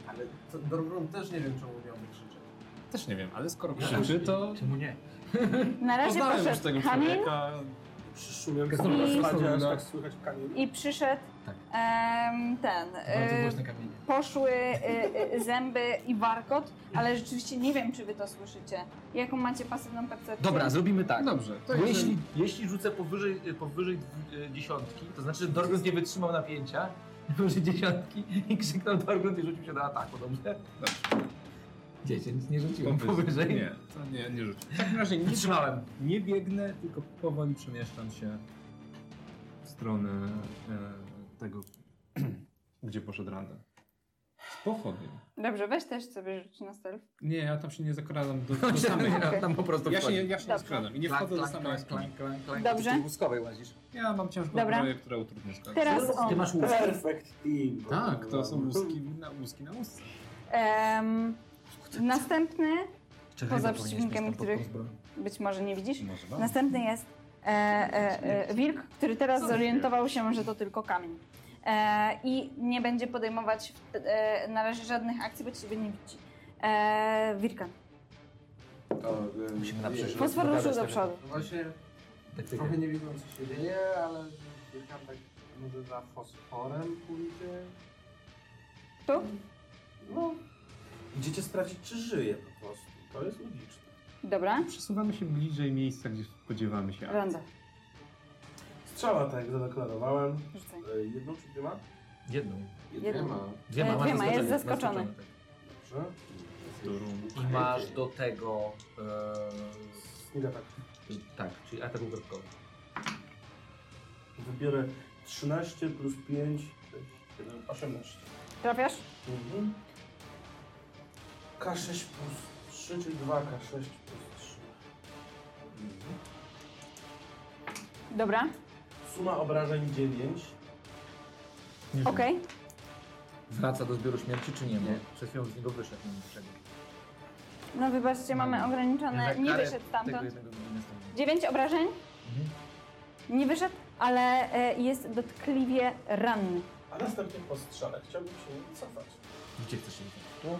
Speaker 2: Ale to Dorbrun też nie wiem, czemu miałby krzyczeć.
Speaker 5: Też nie wiem, ale skoro krzyczy, to...
Speaker 3: Czemu nie?
Speaker 6: Na razie
Speaker 5: Poznałem już
Speaker 6: poszedł
Speaker 5: tego
Speaker 6: kamień
Speaker 5: człowieka.
Speaker 4: Przyszumiał
Speaker 3: Znowu
Speaker 4: w spadzie,
Speaker 3: znowu,
Speaker 4: aż
Speaker 3: no.
Speaker 4: tak słychać kamień.
Speaker 6: i przyszedł
Speaker 3: Tak.
Speaker 6: em, ten.
Speaker 3: Bardzo
Speaker 6: y,
Speaker 3: głośne kamienie.
Speaker 6: poszły y, y, zęby i warkot, ale rzeczywiście nie wiem, czy wy to słyszycie. Jaką macie pasywną percepcję?
Speaker 3: Dobra, zrobimy
Speaker 6: No
Speaker 3: tak.
Speaker 5: Dobrze, to
Speaker 3: Bo
Speaker 5: jeżeli-
Speaker 3: jeśli, jeśli rzucę powyżej, y, powyżej dwu- y, dziesiątki, to znaczy, że Dorgrund nie wytrzymał napięcia, powyżej dziesiątki i krzyknął Dorgrund i rzucił się do ataku, dobrze?
Speaker 5: Dobrze.
Speaker 3: Dziesięć, nie rzuciłem powyżej.
Speaker 5: Nie, to nie, nie rzucę. W takim razie nie,
Speaker 3: Wytrzymałem.
Speaker 5: nie biegnę, tylko powoli przemieszczam się w stronę e, tego, gdzie poszedł Randall. Z pochodnią.
Speaker 6: Dobrze, weź też sobie rzuć na stealth.
Speaker 5: Nie, ja tam się nie zakradam do, do samej.
Speaker 3: Ja tam po prostu
Speaker 5: Ja się, nie-
Speaker 3: wchodzę.
Speaker 5: ja się nie
Speaker 6: Dobrze.
Speaker 5: skradam i nie
Speaker 3: Klank,
Speaker 5: wchodzę do
Speaker 3: klank,
Speaker 5: samej
Speaker 3: klank,
Speaker 5: jaskini.
Speaker 3: klank, klank, klank.
Speaker 6: Dobrze.
Speaker 3: Ty łuskowej łazisz.
Speaker 5: Ja mam ciężką
Speaker 6: Dobra.
Speaker 5: zbroję, która utrudnia skradanie.
Speaker 6: Teraz
Speaker 3: Ty
Speaker 6: on.
Speaker 3: masz łuskę.
Speaker 4: Perfect team.
Speaker 5: Tak, to są łuski na łuski na łusce.
Speaker 6: Em, następny,
Speaker 3: Czekaj,
Speaker 6: Poza
Speaker 3: bo powinieneś mieć
Speaker 6: przeciwnikiem,
Speaker 3: tam pod
Speaker 6: który-
Speaker 3: tą zbroję.
Speaker 6: być może nie widzisz,
Speaker 5: Może wam?
Speaker 6: następny jest e, e, e, wilk, który teraz
Speaker 5: Co
Speaker 6: zorientował się, że to tylko kamień. E, I nie będzie podejmować e, na razie żadnych akcji, bo ci sobie nie widzi. E, Wirkan.
Speaker 2: To, y,
Speaker 3: Musimy na
Speaker 2: nie-
Speaker 3: przyszłość.
Speaker 6: Fosfor
Speaker 3: Dogadać
Speaker 6: ruszył do
Speaker 3: tego.
Speaker 6: przodu.
Speaker 2: No Właśnie
Speaker 3: Taktykę.
Speaker 2: trochę nie wiem, co się dzieje, ale biegam tak może za fosforem pójdzie.
Speaker 6: Tu?
Speaker 2: No,
Speaker 4: Idziecie sprawdzić, czy żyje po prostu. To jest logiczne.
Speaker 6: Dobra.
Speaker 5: Przesuwamy się bliżej miejsca, gdzie spodziewamy się.
Speaker 6: Randa,
Speaker 4: Strzała, tak jak zadeklarowałem.
Speaker 6: rzucaj.
Speaker 4: E, Jedną czy dwiema?
Speaker 3: Jedną.
Speaker 2: nie ma.
Speaker 6: E,
Speaker 3: ma
Speaker 6: dwiema,
Speaker 3: zaskoczony,
Speaker 6: jest zaskoczony.
Speaker 3: tak.
Speaker 4: Dobrze.
Speaker 3: I masz do tego...
Speaker 4: Sniga tak.
Speaker 3: E, tak, czyli atak ugrobkowy.
Speaker 4: Wybiorę 13 plus 5, 7, 18.
Speaker 6: Trafiasz?
Speaker 4: Mhm. K6 plus 3, czyli 2K6 plus 3.
Speaker 6: Dobra,
Speaker 4: Suma obrażeń 9.
Speaker 3: Nie wiem.
Speaker 6: okej.
Speaker 3: Wraca do zbioru śmierci czy nie? Bo
Speaker 2: Nie.
Speaker 3: przed chwilą z niego wyszedł. Nie wiem dlaczego.
Speaker 6: No wybaczcie, mamy
Speaker 3: Mamy.
Speaker 6: ograniczone.
Speaker 3: Za
Speaker 6: Nie
Speaker 3: karę
Speaker 6: wyszedł
Speaker 3: Tego
Speaker 6: stamtąd.
Speaker 3: jednego nie stąd.
Speaker 6: Dziewięć obrażeń,
Speaker 3: Mhm.
Speaker 6: nie wyszedł, ale e, jest dotkliwie ranny.
Speaker 4: A następnie po strzale chciałbym się cofać.
Speaker 3: Gdzie chcesz się wziąć?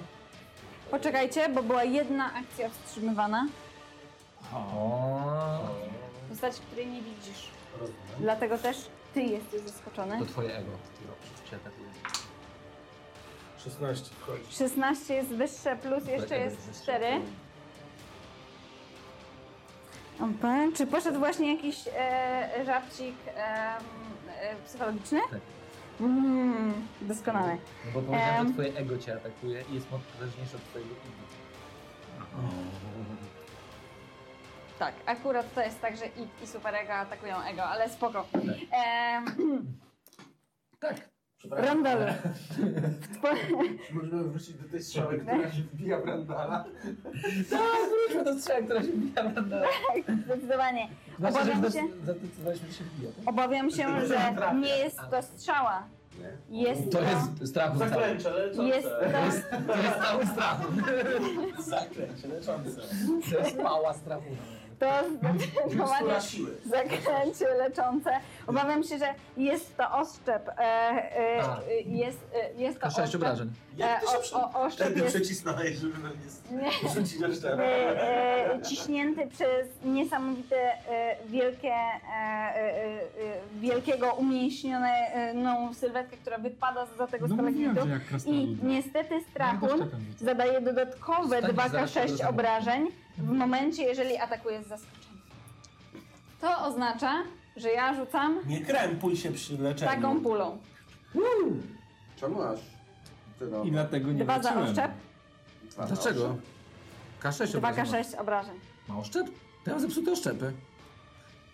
Speaker 6: Poczekajcie, bo była jedna akcja wstrzymywana.
Speaker 3: O,
Speaker 6: Postać, której nie widzisz.
Speaker 4: Rozumiem.
Speaker 6: Dlatego też ty jesteś zaskoczony.
Speaker 3: To twoje ego. Ty robisz, cię atakuje.
Speaker 4: 16 wchodzi.
Speaker 6: 16 jest wyższe, plus jeszcze
Speaker 3: Twoje ego
Speaker 6: jest
Speaker 3: jest
Speaker 6: 4. Opa. Czy poszedł właśnie jakiś e, żarcik em, e, psychologiczny?
Speaker 3: Tak.
Speaker 6: Mm, doskonale.
Speaker 3: No bo powiedziałem,
Speaker 6: Em.
Speaker 3: że twoje ego cię atakuje i jest mocniejsze od twojego ego.
Speaker 6: Tak, akurat to jest tak, że i, i superego atakują ego, ale spoko. Em,
Speaker 3: Tak.
Speaker 6: Randalu. W two-
Speaker 2: Możemy wrócić do tej strzały, która się wbija w Randala.
Speaker 3: Tak, wróćmy do strzału, która się wbija w randale.
Speaker 6: Zdecydowanie.
Speaker 3: Znaczy, że
Speaker 6: Obawiam
Speaker 3: zde-
Speaker 6: się.
Speaker 3: Zdecydowaliśmy, że się wbija. tak?
Speaker 6: Obawiam się, że nie jest to strzała. Jest to,
Speaker 3: To jest strach cały.
Speaker 4: Zaklęcie leczące.
Speaker 6: jest to
Speaker 3: To jest cały strach.
Speaker 4: Zaklęcie leczące.
Speaker 3: To jest mała strachu.
Speaker 6: To
Speaker 4: Mikstura
Speaker 6: zdecydowanie
Speaker 4: siły.
Speaker 6: zaklęcie leczące. Obawiam się, że jest to oszczep. E, e,
Speaker 3: A.
Speaker 6: e, jest, e, jest to
Speaker 3: To sześć
Speaker 6: oszczep.
Speaker 3: obrażeń.
Speaker 6: E,
Speaker 4: Jak ty się
Speaker 6: o,
Speaker 4: przed...
Speaker 6: o, oszczep
Speaker 4: Wtedy
Speaker 6: jest
Speaker 4: przecisnąłeś, żeby nam nie s-
Speaker 6: nie,
Speaker 4: rzucić tak.
Speaker 6: e,
Speaker 4: oszczepem.
Speaker 6: e, ciśnięty przez niesamowite e, wielkie, e, e, e, wielkiego umięśnioną sylwetkę, która wypada za tego
Speaker 5: No mówiłem,
Speaker 6: stalagmitu.
Speaker 5: że jak
Speaker 6: I
Speaker 5: krasnoludna.
Speaker 6: niestety strachun
Speaker 5: Ja też tak- czekam, że-
Speaker 6: zadaje dodatkowe
Speaker 3: Stań zaraz tego
Speaker 6: 2k6
Speaker 3: zamku.
Speaker 6: obrażeń w momencie, jeżeli atakuje z zaskoczenia. To oznacza, że ja rzucam
Speaker 4: Nie krępuj się przy leczeniu.
Speaker 6: taką pulą.
Speaker 2: Czemu aż no, tyle?
Speaker 5: I dlatego nie
Speaker 6: Dwa za
Speaker 5: wróciłem.
Speaker 6: oszczep,
Speaker 2: Dwa na
Speaker 3: Dlaczego?
Speaker 2: osiem.
Speaker 3: K6 obrażeń ma.
Speaker 6: 2k6 obrażeń.
Speaker 3: Ma oszczep? To ja mam zepsute oszczepy.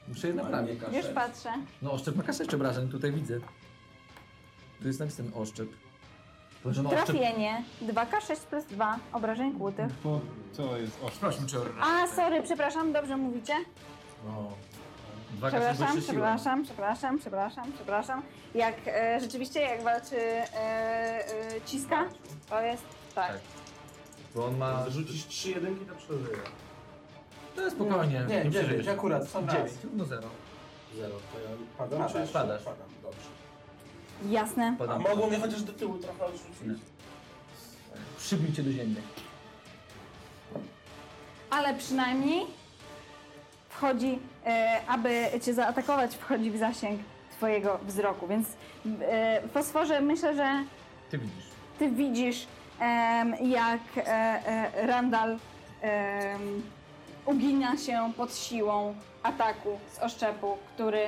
Speaker 3: Muszę je naprawić.
Speaker 1: Już patrzę.
Speaker 3: No oszczep ma kasę jeszcze razem, tutaj widzę. Tu jest napis ten oszczep. Chyba, że ma oszczep.
Speaker 1: Trafienie. 2K6 plus 2 obrażeń kłutych.
Speaker 5: Bo to jest ostro.
Speaker 3: Sprawdźmy, czy orra.
Speaker 1: A, sorry, przepraszam, dobrze mówicie?
Speaker 3: No. Dwa kasy
Speaker 1: Przepraszam,
Speaker 3: wyższe siła.
Speaker 1: przepraszam, przepraszam, przepraszam, przepraszam. Jak e, rzeczywiście, jak walczy e, e, ciska, to jest tak.
Speaker 3: Tak. Bo on ma...
Speaker 4: Zarzucisz trzy jedynki, to przeżyję. E,
Speaker 3: To jest spokojnie.
Speaker 2: Nie, nie
Speaker 3: przeżyjesz.
Speaker 2: dziewięć akurat, w sam raz.
Speaker 3: Dziewięć, no zero.
Speaker 4: Zero. To ja padam, czy
Speaker 3: Padasz. Padasz.
Speaker 4: Padam, dobrze.
Speaker 1: Jasne.
Speaker 4: A
Speaker 3: Podam.
Speaker 4: mogą mnie chociaż do tyłu trochę odrzucić.
Speaker 3: Przybił cię do ziemi.
Speaker 1: Ale przynajmniej wchodzi, e, aby cię zaatakować, wchodzi w zasięg twojego wzroku, więc e, fosforze myślę, że
Speaker 3: Ty widzisz.
Speaker 1: ty widzisz, em, jak e, e, Randall em, ugina się pod siłą ataku z oszczepu, który,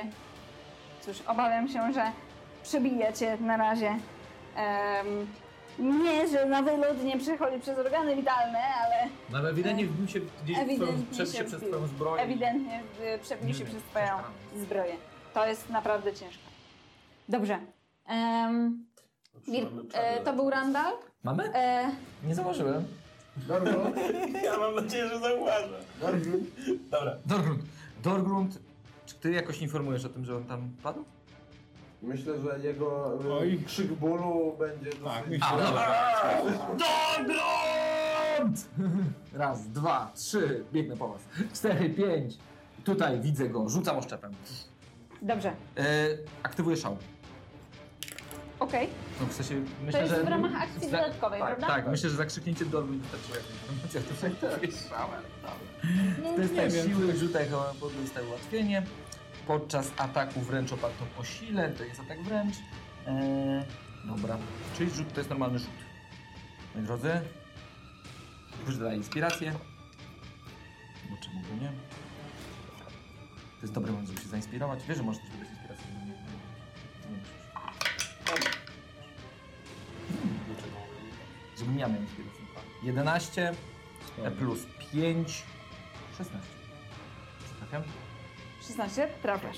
Speaker 1: cóż, obawiam się, że przebija cię na razie. Em, nie, że na wylot nie przechodzi przez organy witalne, ale
Speaker 3: No ale ewidentnie wbił się gdzieś
Speaker 1: E, Ewidentnie
Speaker 3: przebił
Speaker 1: się
Speaker 3: się przez
Speaker 1: wbił.
Speaker 3: twoją zbroję.
Speaker 1: ewidentnie y, przebił
Speaker 3: Nie
Speaker 1: się
Speaker 3: wiem,
Speaker 1: przez twoją
Speaker 3: ciężka rana.
Speaker 1: zbroję. To jest naprawdę ciężko. Dobrze. Em, Gil- e, to był Randall.
Speaker 3: Mamy?
Speaker 1: E,
Speaker 3: Nie założyłem.
Speaker 2: Dorgo,
Speaker 4: Ja mam nadzieję, że zauważę. Dobra.
Speaker 3: Dorgrund. Dorgrund, czy ty jakoś informujesz o tym, że on tam padł?
Speaker 2: Myślę, że jego y,
Speaker 5: Oj.
Speaker 2: krzyk bólu będzie dosyć...
Speaker 5: Tak,
Speaker 3: A,
Speaker 5: myślę.
Speaker 3: dobra. Dorgrund! Raz, dwa, trzy, biegnę po was. Cztery, pięć. Tutaj widzę go, rzucam oszczepem.
Speaker 1: dobrze.
Speaker 3: E, aktywuję szał.
Speaker 1: Okej.
Speaker 3: No, w sensie, myślę,
Speaker 1: To jest
Speaker 3: że...
Speaker 1: w ramach akcji
Speaker 3: za-
Speaker 1: dodatkowej,
Speaker 3: tak,
Speaker 1: prawda?
Speaker 3: Tak, myślę, że zakrzyknięcie Dorgrund wystarczyło jako informacja. To tak,
Speaker 1: No,
Speaker 3: Testa siły rzuta chyba dostaje ułatwienie. Podczas ataku wręcz opartą o sile, to jest atak wręcz. Eee, dobra, czyli rzut to jest normalny rzut. Moi drodzy, wyżdżaj inspirację. Bo czemu by nie? To jest dobry moment, żeby się zainspirować. Wiesz, że możesz też wybrać inspirację. żeby Nie, nie, nie musisz. Hmm, dlaczego? Żebym ja miał inspirację. 11 e, plus 5, 16. Trafiam?
Speaker 1: 16, trafiasz.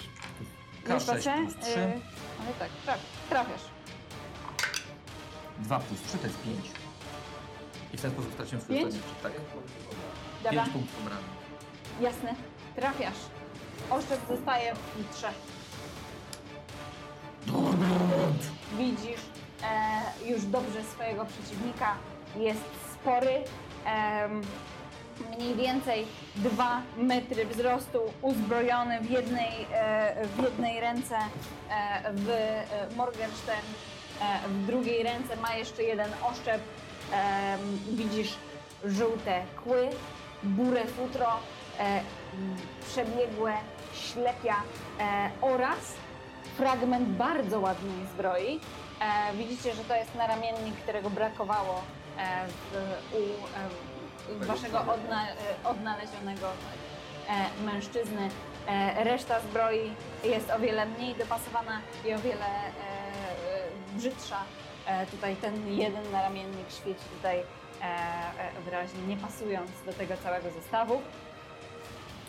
Speaker 1: Już patrzę,
Speaker 3: K6 plus 3,
Speaker 1: y, ale tak, traf, trafiasz.
Speaker 3: 2 plus 3 to jest 5. I w ten sposób straciłem swój
Speaker 1: Pięć?
Speaker 3: zadań. Tak,
Speaker 1: Dobra,
Speaker 3: 5 punktów obrany.
Speaker 1: jasne, trafiasz. Oszczep zostaje w trzech. Widzisz e, już dobrze swojego przeciwnika. Jest spory, em, mniej więcej 2 metry wzrostu, uzbrojony w jednej, e, w jednej ręce e, w e, Morgenstern, e, w drugiej ręce ma jeszcze jeden oszczep. Em, widzisz żółte kły, burę futro, e, m, przebiegłe ślepia e, oraz fragment bardzo ładnej zbroi. E, widzicie, że to jest naramiennik, którego brakowało e, w, u e, waszego odna, e, odnalezionego e, mężczyzny. E, reszta zbroi jest o wiele mniej dopasowana i o wiele e, e, brzydsza. E, tutaj ten jeden naramiennik świeci tutaj e, e, wyraźnie, nie pasując do tego całego zestawu.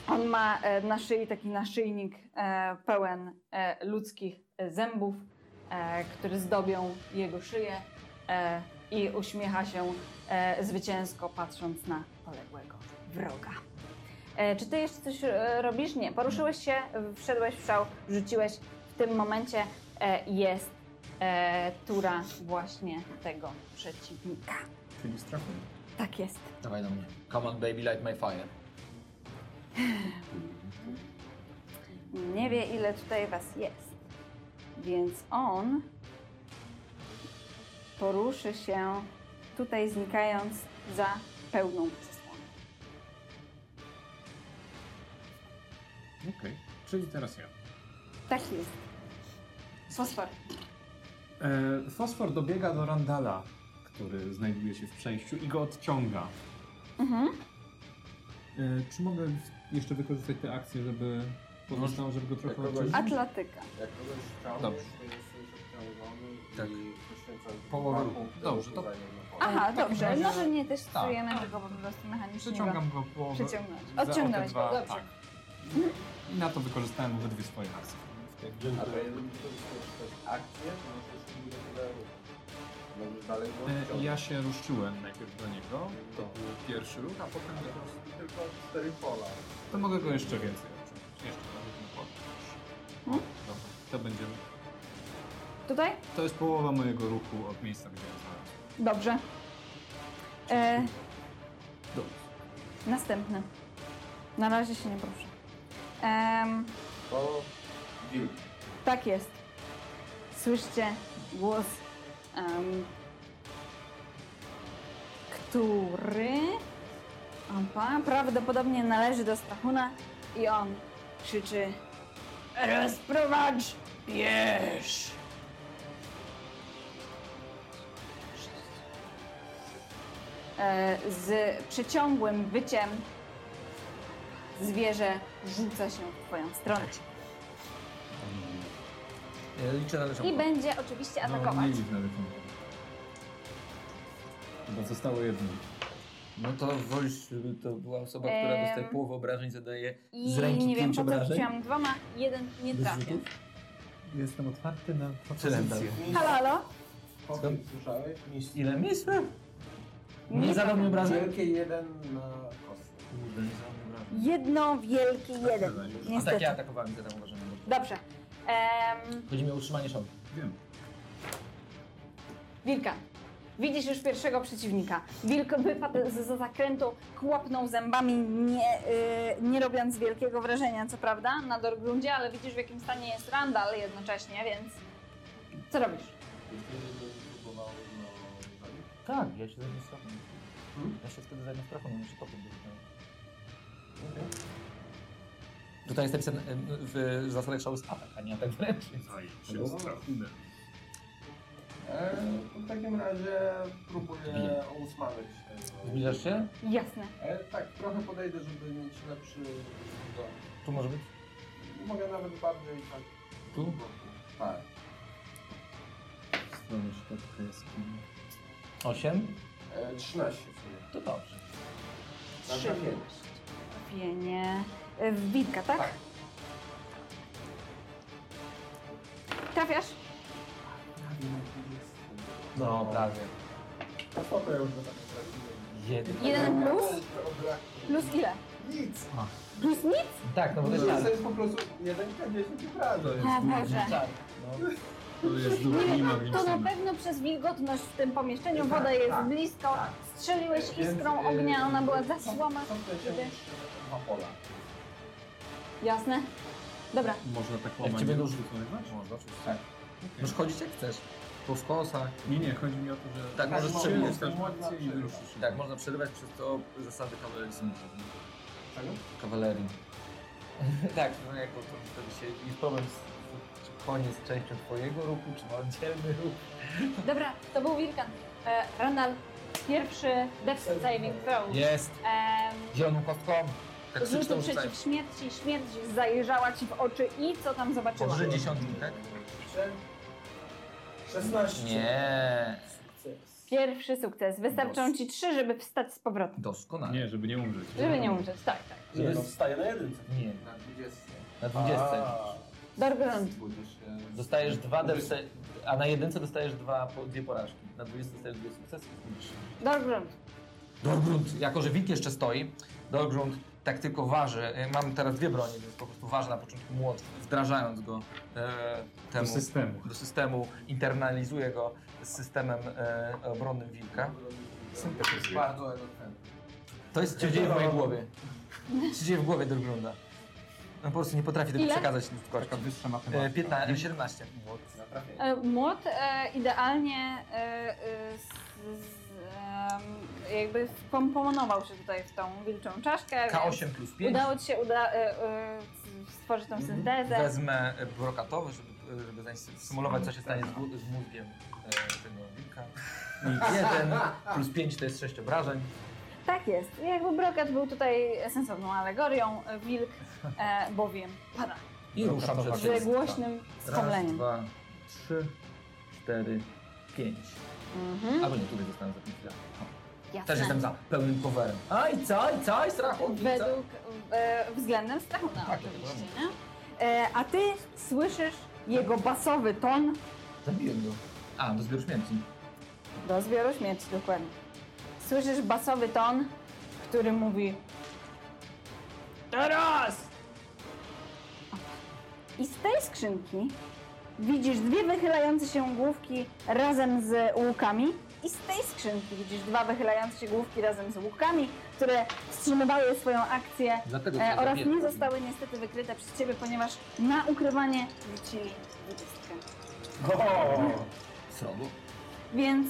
Speaker 7: On ma e, na szyi taki naszyjnik e, pełen e, ludzkich e, zębów, e, które zdobią jego szyję e, i uśmiecha się e, zwycięsko patrząc na poległego wroga.
Speaker 1: E, czy ty jeszcze coś e, robisz? Nie. Poruszyłeś się, w- wszedłeś w szał, rzuciłeś. W tym momencie e, jest e, tura właśnie tego przeciwnika.
Speaker 3: Czyli strachu.
Speaker 1: Tak jest.
Speaker 3: Dawaj do mnie. Come on baby, light my fire.
Speaker 1: Nie wie, ile tutaj was jest. Więc on poruszy się tutaj, znikając za pełną przesłoną.
Speaker 5: Okej, czyli teraz ja.
Speaker 1: Tak jest. Fosfor.
Speaker 5: E, fosfor dobiega do Randala, który znajduje się w przejściu i go odciąga.
Speaker 1: Mhm.
Speaker 5: E, czy mogę jeszcze wykorzystać tę akcję, żeby pozostał, żeby go trochę
Speaker 2: Jak kogoś-
Speaker 5: odciągnąć?
Speaker 1: Atlatyka.
Speaker 2: Jak kogoś chciałbyś,
Speaker 5: Dobrze.
Speaker 2: to jesteś obciążony
Speaker 3: Tak.
Speaker 2: i poświęcasz
Speaker 3: Połowę
Speaker 2: dwa
Speaker 3: ruchu.
Speaker 2: punkty
Speaker 5: Dobrze,
Speaker 2: ruchu
Speaker 5: to-
Speaker 2: za niego.
Speaker 1: Aha, dobrze.
Speaker 3: razie-
Speaker 1: Może nie testujemy
Speaker 3: tak.
Speaker 1: tego po prostu mechanicznie.
Speaker 5: Przyciągam go połowę.
Speaker 1: Przyciągnąć.
Speaker 5: za o te
Speaker 1: Odciągnąłeś go,
Speaker 5: dwa,
Speaker 1: dobrze.
Speaker 5: tak. I na to wykorzystałem obydwie swoje akcje.
Speaker 4: Dziękuję.
Speaker 2: Ale jeżeli ktoś chce akcję, to może z nim wydaje. Możesz dalej go
Speaker 5: E,
Speaker 2: wciągnąć.
Speaker 5: Ja się ruszyłem najpierw do niego, to był pierwszy ruch, a potem wykorzystałem.
Speaker 2: Tylko cztery pola.
Speaker 5: To mogę go jeszcze więcej obciąć. Jeszcze trochę ten
Speaker 6: No.
Speaker 5: płot. Dobra, to będzie.
Speaker 6: Tutaj?
Speaker 5: To jest połowa mojego ruchu od miejsca, gdzie ja znalazłem.
Speaker 6: Dobrze. E,
Speaker 5: Dobrze.
Speaker 6: następny. Na razie się nie proszę. Em,
Speaker 2: To wilk.
Speaker 6: tak jest. Słyszcie głos, em, który opa, prawdopodobnie należy do Strachuna i on krzyczy Rozprowadź bierz! E, z przeciągłym wyciem zwierzę rzuca się w twoją stronę.
Speaker 3: Ja liczę na naszą
Speaker 6: I będzie oczywiście
Speaker 5: No,
Speaker 6: atakować.
Speaker 5: nie dziwne rytmy. Chyba zostało jedno.
Speaker 3: No to wolisz, żeby to była osoba, która
Speaker 6: Em,
Speaker 3: dostaje połowę obrażeń, zadaje
Speaker 6: I
Speaker 3: z ręki
Speaker 6: nie wiem,
Speaker 3: pięć
Speaker 6: po co
Speaker 3: obrażeń.
Speaker 6: rzuciłam dwoma, jeden nie trafił.
Speaker 3: rzutów?
Speaker 8: Jestem otwarty na
Speaker 3: Cylinder.
Speaker 8: propozycje.
Speaker 6: Halo, halo?
Speaker 2: Potem słyszałeś?
Speaker 3: Ile miejsca? Nie,
Speaker 6: Nie
Speaker 3: zadał mi obrażeń?
Speaker 2: Wielkie jeden na kostce.
Speaker 3: Kurde, nie zadał mi obrażeń.
Speaker 6: Jedno wielki jeden.
Speaker 3: A tak
Speaker 6: Niestety.
Speaker 3: ja atakowałem, zadał obrażenia.
Speaker 6: Dobrze. Em,
Speaker 3: Chodzi mi o utrzymanie szału.
Speaker 5: Wiem.
Speaker 6: wilka. Widzisz już pierwszego przeciwnika. Wilk wypadł z za zakrętu, kłapnął zębami, nie, y, nie robiąc wielkiego wrażenia, co prawda, na dorgrundzie, ale widzisz w jakim stanie jest Randall jednocześnie, więc co robisz?
Speaker 2: Jeśli będziesz próbował no, zabić,
Speaker 3: Tak, ja się zajmę strachą. Hmm? Ja się wtedy zajmę strachą, bo muszę pokój Tutaj jest napisane em, w zasadach szału jest atak, a nie atak wręcz.
Speaker 5: Się strachunek.
Speaker 2: e, to w takim razie próbuję
Speaker 3: Bije.
Speaker 2: usmażyć tego.
Speaker 3: Zbliżasz się?
Speaker 6: Jasne.
Speaker 2: E, tak, trochę podejdę, żeby mieć lepszy widok.
Speaker 3: Tu może być?
Speaker 2: Mogę nawet bardziej tak.
Speaker 3: Tu?
Speaker 2: Tak.
Speaker 5: W stronę środka jaskini.
Speaker 3: Osiem?
Speaker 2: E, 13 w sumie.
Speaker 3: To dobrze.
Speaker 2: Na trafienie.
Speaker 6: Trafienie. Y, W wilka, tak?
Speaker 2: Tak.
Speaker 6: Trafiasz?
Speaker 3: No, prawie.
Speaker 2: To spoko, ja już go tak trafiłem.
Speaker 3: Jeden.
Speaker 6: Jeden plus? Plus ile?
Speaker 2: Nic.
Speaker 6: Plus nic?
Speaker 3: Tak, no bo to jest
Speaker 2: To
Speaker 3: tak.
Speaker 2: jest po prostu 1K10 razy.
Speaker 6: A Boże.
Speaker 3: Tak, no.
Speaker 5: To jest duch, nie ma
Speaker 6: To na pewno przez wilgotność w tym pomieszczeniu woda jest
Speaker 2: Tak,
Speaker 6: blisko.
Speaker 2: tak.
Speaker 6: Strzeliłeś
Speaker 2: Więc,
Speaker 6: iskrą
Speaker 2: e,
Speaker 6: ognia, ona była
Speaker 2: co-
Speaker 6: zasłama.
Speaker 2: co w sensie
Speaker 6: Kiedy?
Speaker 2: jeszcze Dwa pola.
Speaker 6: Jasne. Dobra,
Speaker 5: Można tak
Speaker 3: Jak
Speaker 5: łamać
Speaker 3: cię będą
Speaker 5: ruch
Speaker 3: rzucać?
Speaker 5: wykonywać?
Speaker 3: Można, oczywiście. Tak. Możesz chodzić jak chcesz. Po skosach.
Speaker 5: Nie, nie, chodzi mi o to, że...
Speaker 3: Tak, możesz
Speaker 5: Cię
Speaker 3: przebiec.
Speaker 5: ustawisz
Speaker 2: Można
Speaker 5: akcję i
Speaker 2: przebiec.
Speaker 5: wyruszysz. się.
Speaker 3: Tak, można przerywać przez to zasady kawalerii są
Speaker 2: Czego?
Speaker 3: Kawalerii. tak, no jako to wtedy się jest problem z, z, czy koniec częścią twojego ruchu, czy ma oddzielny ruch.
Speaker 6: dobra, to był wilkan. E, Randall, pierwszy death saving throw.
Speaker 3: Jest!
Speaker 6: Em,
Speaker 3: Zieloną kostką. Tak
Speaker 6: Rzutu
Speaker 3: krzyczą rzucają.
Speaker 6: przeciw śmierci, śmierć zajrzała ci w oczy i co tam zobaczyła?
Speaker 3: Powyżej dziesiątki, tak?
Speaker 4: 16.
Speaker 3: Nie.
Speaker 4: Sukces.
Speaker 6: Pierwszy sukces. Wystarczą
Speaker 3: Dos.
Speaker 6: ci trzy, żeby wstać z powrotem.
Speaker 3: Doskonale.
Speaker 5: Nie, żeby nie umrzeć.
Speaker 6: Żeby nie umrzeć, tak, tak.
Speaker 4: Nie, no wstaje na jedynce.
Speaker 3: Nie.
Speaker 2: Na 20.
Speaker 3: Na dwudziestce.
Speaker 4: A,
Speaker 3: Tak.
Speaker 6: Dorgrund.
Speaker 2: Budzisz się.
Speaker 3: Dostajesz dwa delce, a na jedynce dostajesz dwa, po- dwie porażki. Na dwudziestce dostajesz dwie sukcesy.
Speaker 6: Dorgrund.
Speaker 3: Dorgrund, jako że wilk jeszcze stoi, Dorgrund tak tylko waży. E, Mam teraz dwie bronie, więc po prostu waży na początku młot, wdrażając go e, temu,
Speaker 5: Do systemu.
Speaker 3: do systemu, internalizuje go z systemem e, obronnym wilka.
Speaker 2: Bardzo elokwentny.
Speaker 3: To jest, co się dzieje w mojej głowie. Co się dzieje w głowie Dorgrunda. On po prostu nie potrafi tego
Speaker 6: Ile?
Speaker 3: przekazać kością.
Speaker 5: wyższa
Speaker 3: E, 15, 17.
Speaker 2: Na trafienie.
Speaker 6: E, Młot e, idealnie e, e, z, z, em, jakby wkomponował się tutaj w tą wilczą czaszkę.
Speaker 3: K8 plus 5.
Speaker 6: więc Udało ci się uda, e, e, stworzyć tą syntezę.
Speaker 3: Wezmę e, brokatowy, żeby, e, żeby zaś- symulować, co się stanie z, gó- z mózgiem e, tego wilka. I jeden plus 5 to jest 6 obrażeń.
Speaker 6: Tak jest. Jakby brokat był tutaj sensowną alegorią, e, wilk e, bowiem pada.
Speaker 3: I ruszam przed siebie.
Speaker 6: Z głośnym
Speaker 3: Tak Raz,
Speaker 6: skomleniem.
Speaker 3: dwa, trzy, cztery, pięć.
Speaker 6: Mhm.
Speaker 3: Albo nie, tutaj zostałem za pięć lat.
Speaker 1: Jasne.
Speaker 3: Też jestem za pełnym coverem. A i co, i co, i strachu, i co?
Speaker 1: Według e, względem strachu, no
Speaker 3: Tak,
Speaker 1: oczywiście,
Speaker 3: tak,
Speaker 1: nie?
Speaker 6: E, a ty słyszysz jego basowy ton
Speaker 3: Zabiłem go. A, do zbioru śmierci.
Speaker 6: do zbioru śmierci, dokładnie.
Speaker 1: Słyszysz basowy ton, który mówi Teraz!
Speaker 6: I z tej skrzynki widzisz dwie wychylające się główki razem z łukami. I z tej skrzynki widzisz dwa wychylające się główki razem z łukami, które wstrzymywały swoją akcję
Speaker 3: Dlatego
Speaker 6: e,
Speaker 3: cię
Speaker 6: oraz
Speaker 3: zabiłem.
Speaker 6: nie zostały niestety wykryte przez ciebie, ponieważ na ukrywanie rzucili dwudziestkę.
Speaker 4: O!
Speaker 3: Srogo?
Speaker 6: Więc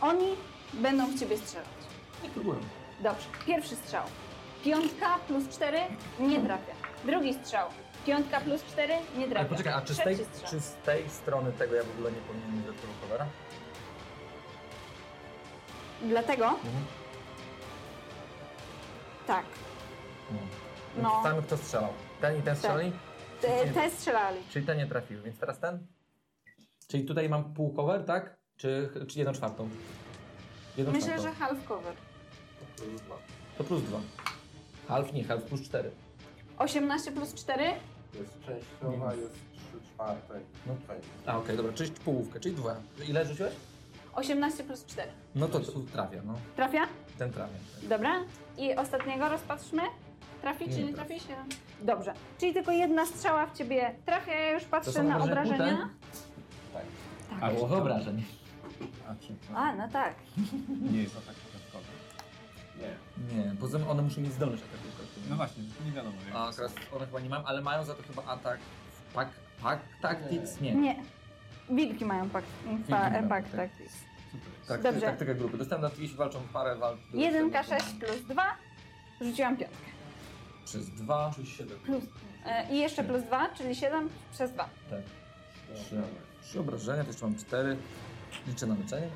Speaker 6: oni będą w ciebie strzelać.
Speaker 3: Nie próbuję.
Speaker 6: Dobrze, pierwszy strzał. Piątka plus cztery nie trafia. Drugi strzał. Piątka plus cztery nie trafia.
Speaker 3: Ale poczekaj, a czy z, tej,
Speaker 6: Trzeci strzał.
Speaker 3: czy z tej strony tego ja w ogóle nie powinienem do tego covera?
Speaker 6: Dlatego
Speaker 3: Mhm.
Speaker 6: tak.
Speaker 3: Więc
Speaker 6: No. Tak.
Speaker 3: Tam kto strzelał. Ten i ten strzeli?
Speaker 6: Te,
Speaker 3: Czyli-
Speaker 6: te strzelali.
Speaker 3: Czyli ten nie trafił, więc teraz ten? Czyli tutaj mam pół cover, tak? Czy, czy jedną czwartą? Jedną
Speaker 6: Myślę,
Speaker 3: czwartą.
Speaker 6: że half cover.
Speaker 3: To plus dwa. Half nie, half plus cztery.
Speaker 6: 18 plus 4
Speaker 2: Jest częściowa, jest trzy czwarte.
Speaker 3: No.
Speaker 2: No
Speaker 3: A okej, dobra, czyli połówkę, czyli dwa. Ile rzuciłeś?
Speaker 6: 18 plus 4.
Speaker 3: No to tu trafia, no.
Speaker 6: Trafia?
Speaker 3: Ten trafia.
Speaker 6: Dobra. I ostatniego rozpatrzmy. Trafi czy
Speaker 3: Nie
Speaker 6: nie, trafi
Speaker 3: trafi.
Speaker 6: się? Dobrze. Czyli tylko jedna strzała w ciebie trafia, ja już
Speaker 3: To
Speaker 6: patrzę
Speaker 3: są
Speaker 6: na
Speaker 3: może
Speaker 6: obrażenia.
Speaker 3: kute?
Speaker 5: A było wyobrażeń.
Speaker 3: A, przepraszam.
Speaker 6: A, no tak.
Speaker 5: Nie jest tak atak dodatkowy.
Speaker 2: Nie.
Speaker 3: Nie, poza tym one muszą mieć zdolność ataku kolektywnnego.
Speaker 5: No właśnie, nie wiadomo. jak
Speaker 3: A
Speaker 5: to
Speaker 3: teraz one chyba nie mam, ale mają za to chyba atak w pack, pack tactics? Nie.
Speaker 6: Nie. Wilki mają pak, pa,
Speaker 3: mają,
Speaker 6: pak
Speaker 3: tak.
Speaker 6: tak.
Speaker 3: Tak,
Speaker 6: Dobrze.
Speaker 3: Taktyka grupy. Dostałem na jeśli walczą parę walk.
Speaker 6: 1k6 plus 2. Rzuciłam 5.
Speaker 3: Przez dwa,
Speaker 4: Czyli siedem.
Speaker 6: E, I jeszcze plus 2, czyli 7 przez 2.
Speaker 3: trzy, trzy obrażenia, to jeszcze mam cztery. Liczę na leczenie.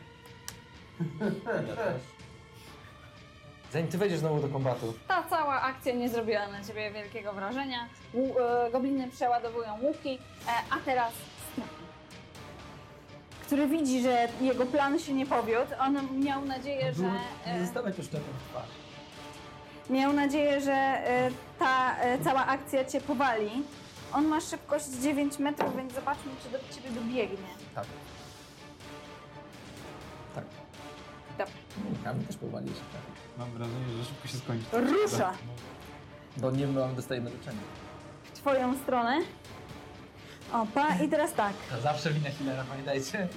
Speaker 3: Zanim ty wejdziesz znowu do kombatu.
Speaker 6: Ta cała akcja nie zrobiła na ciebie wielkiego wrażenia. Łu- e, Gobliny przeładowują łuki, e, a teraz Snaky, który widzi, że jego plan się nie powiódł. On miał
Speaker 3: No
Speaker 6: nadzieję, że
Speaker 3: Nie
Speaker 6: e,
Speaker 3: zostawiać już tego w twarz.
Speaker 6: miał nadzieję, że e, ta e, cała akcja cię powali. On ma szybkość 9 metrów, więc zobaczmy, czy do ciebie dobiegnie.
Speaker 3: Tak. Tak.
Speaker 6: Dobra.
Speaker 3: Mm, Kamień też powali się tak.
Speaker 5: jest. Mam wrażenie, że szybko się skończy. Tak. No,
Speaker 6: Rusza
Speaker 3: Bo nie mamy, dostajemy leczenie.
Speaker 6: w twoją stronę. Opa, i teraz tak.
Speaker 3: To zawsze wina healera, pamiętajcie.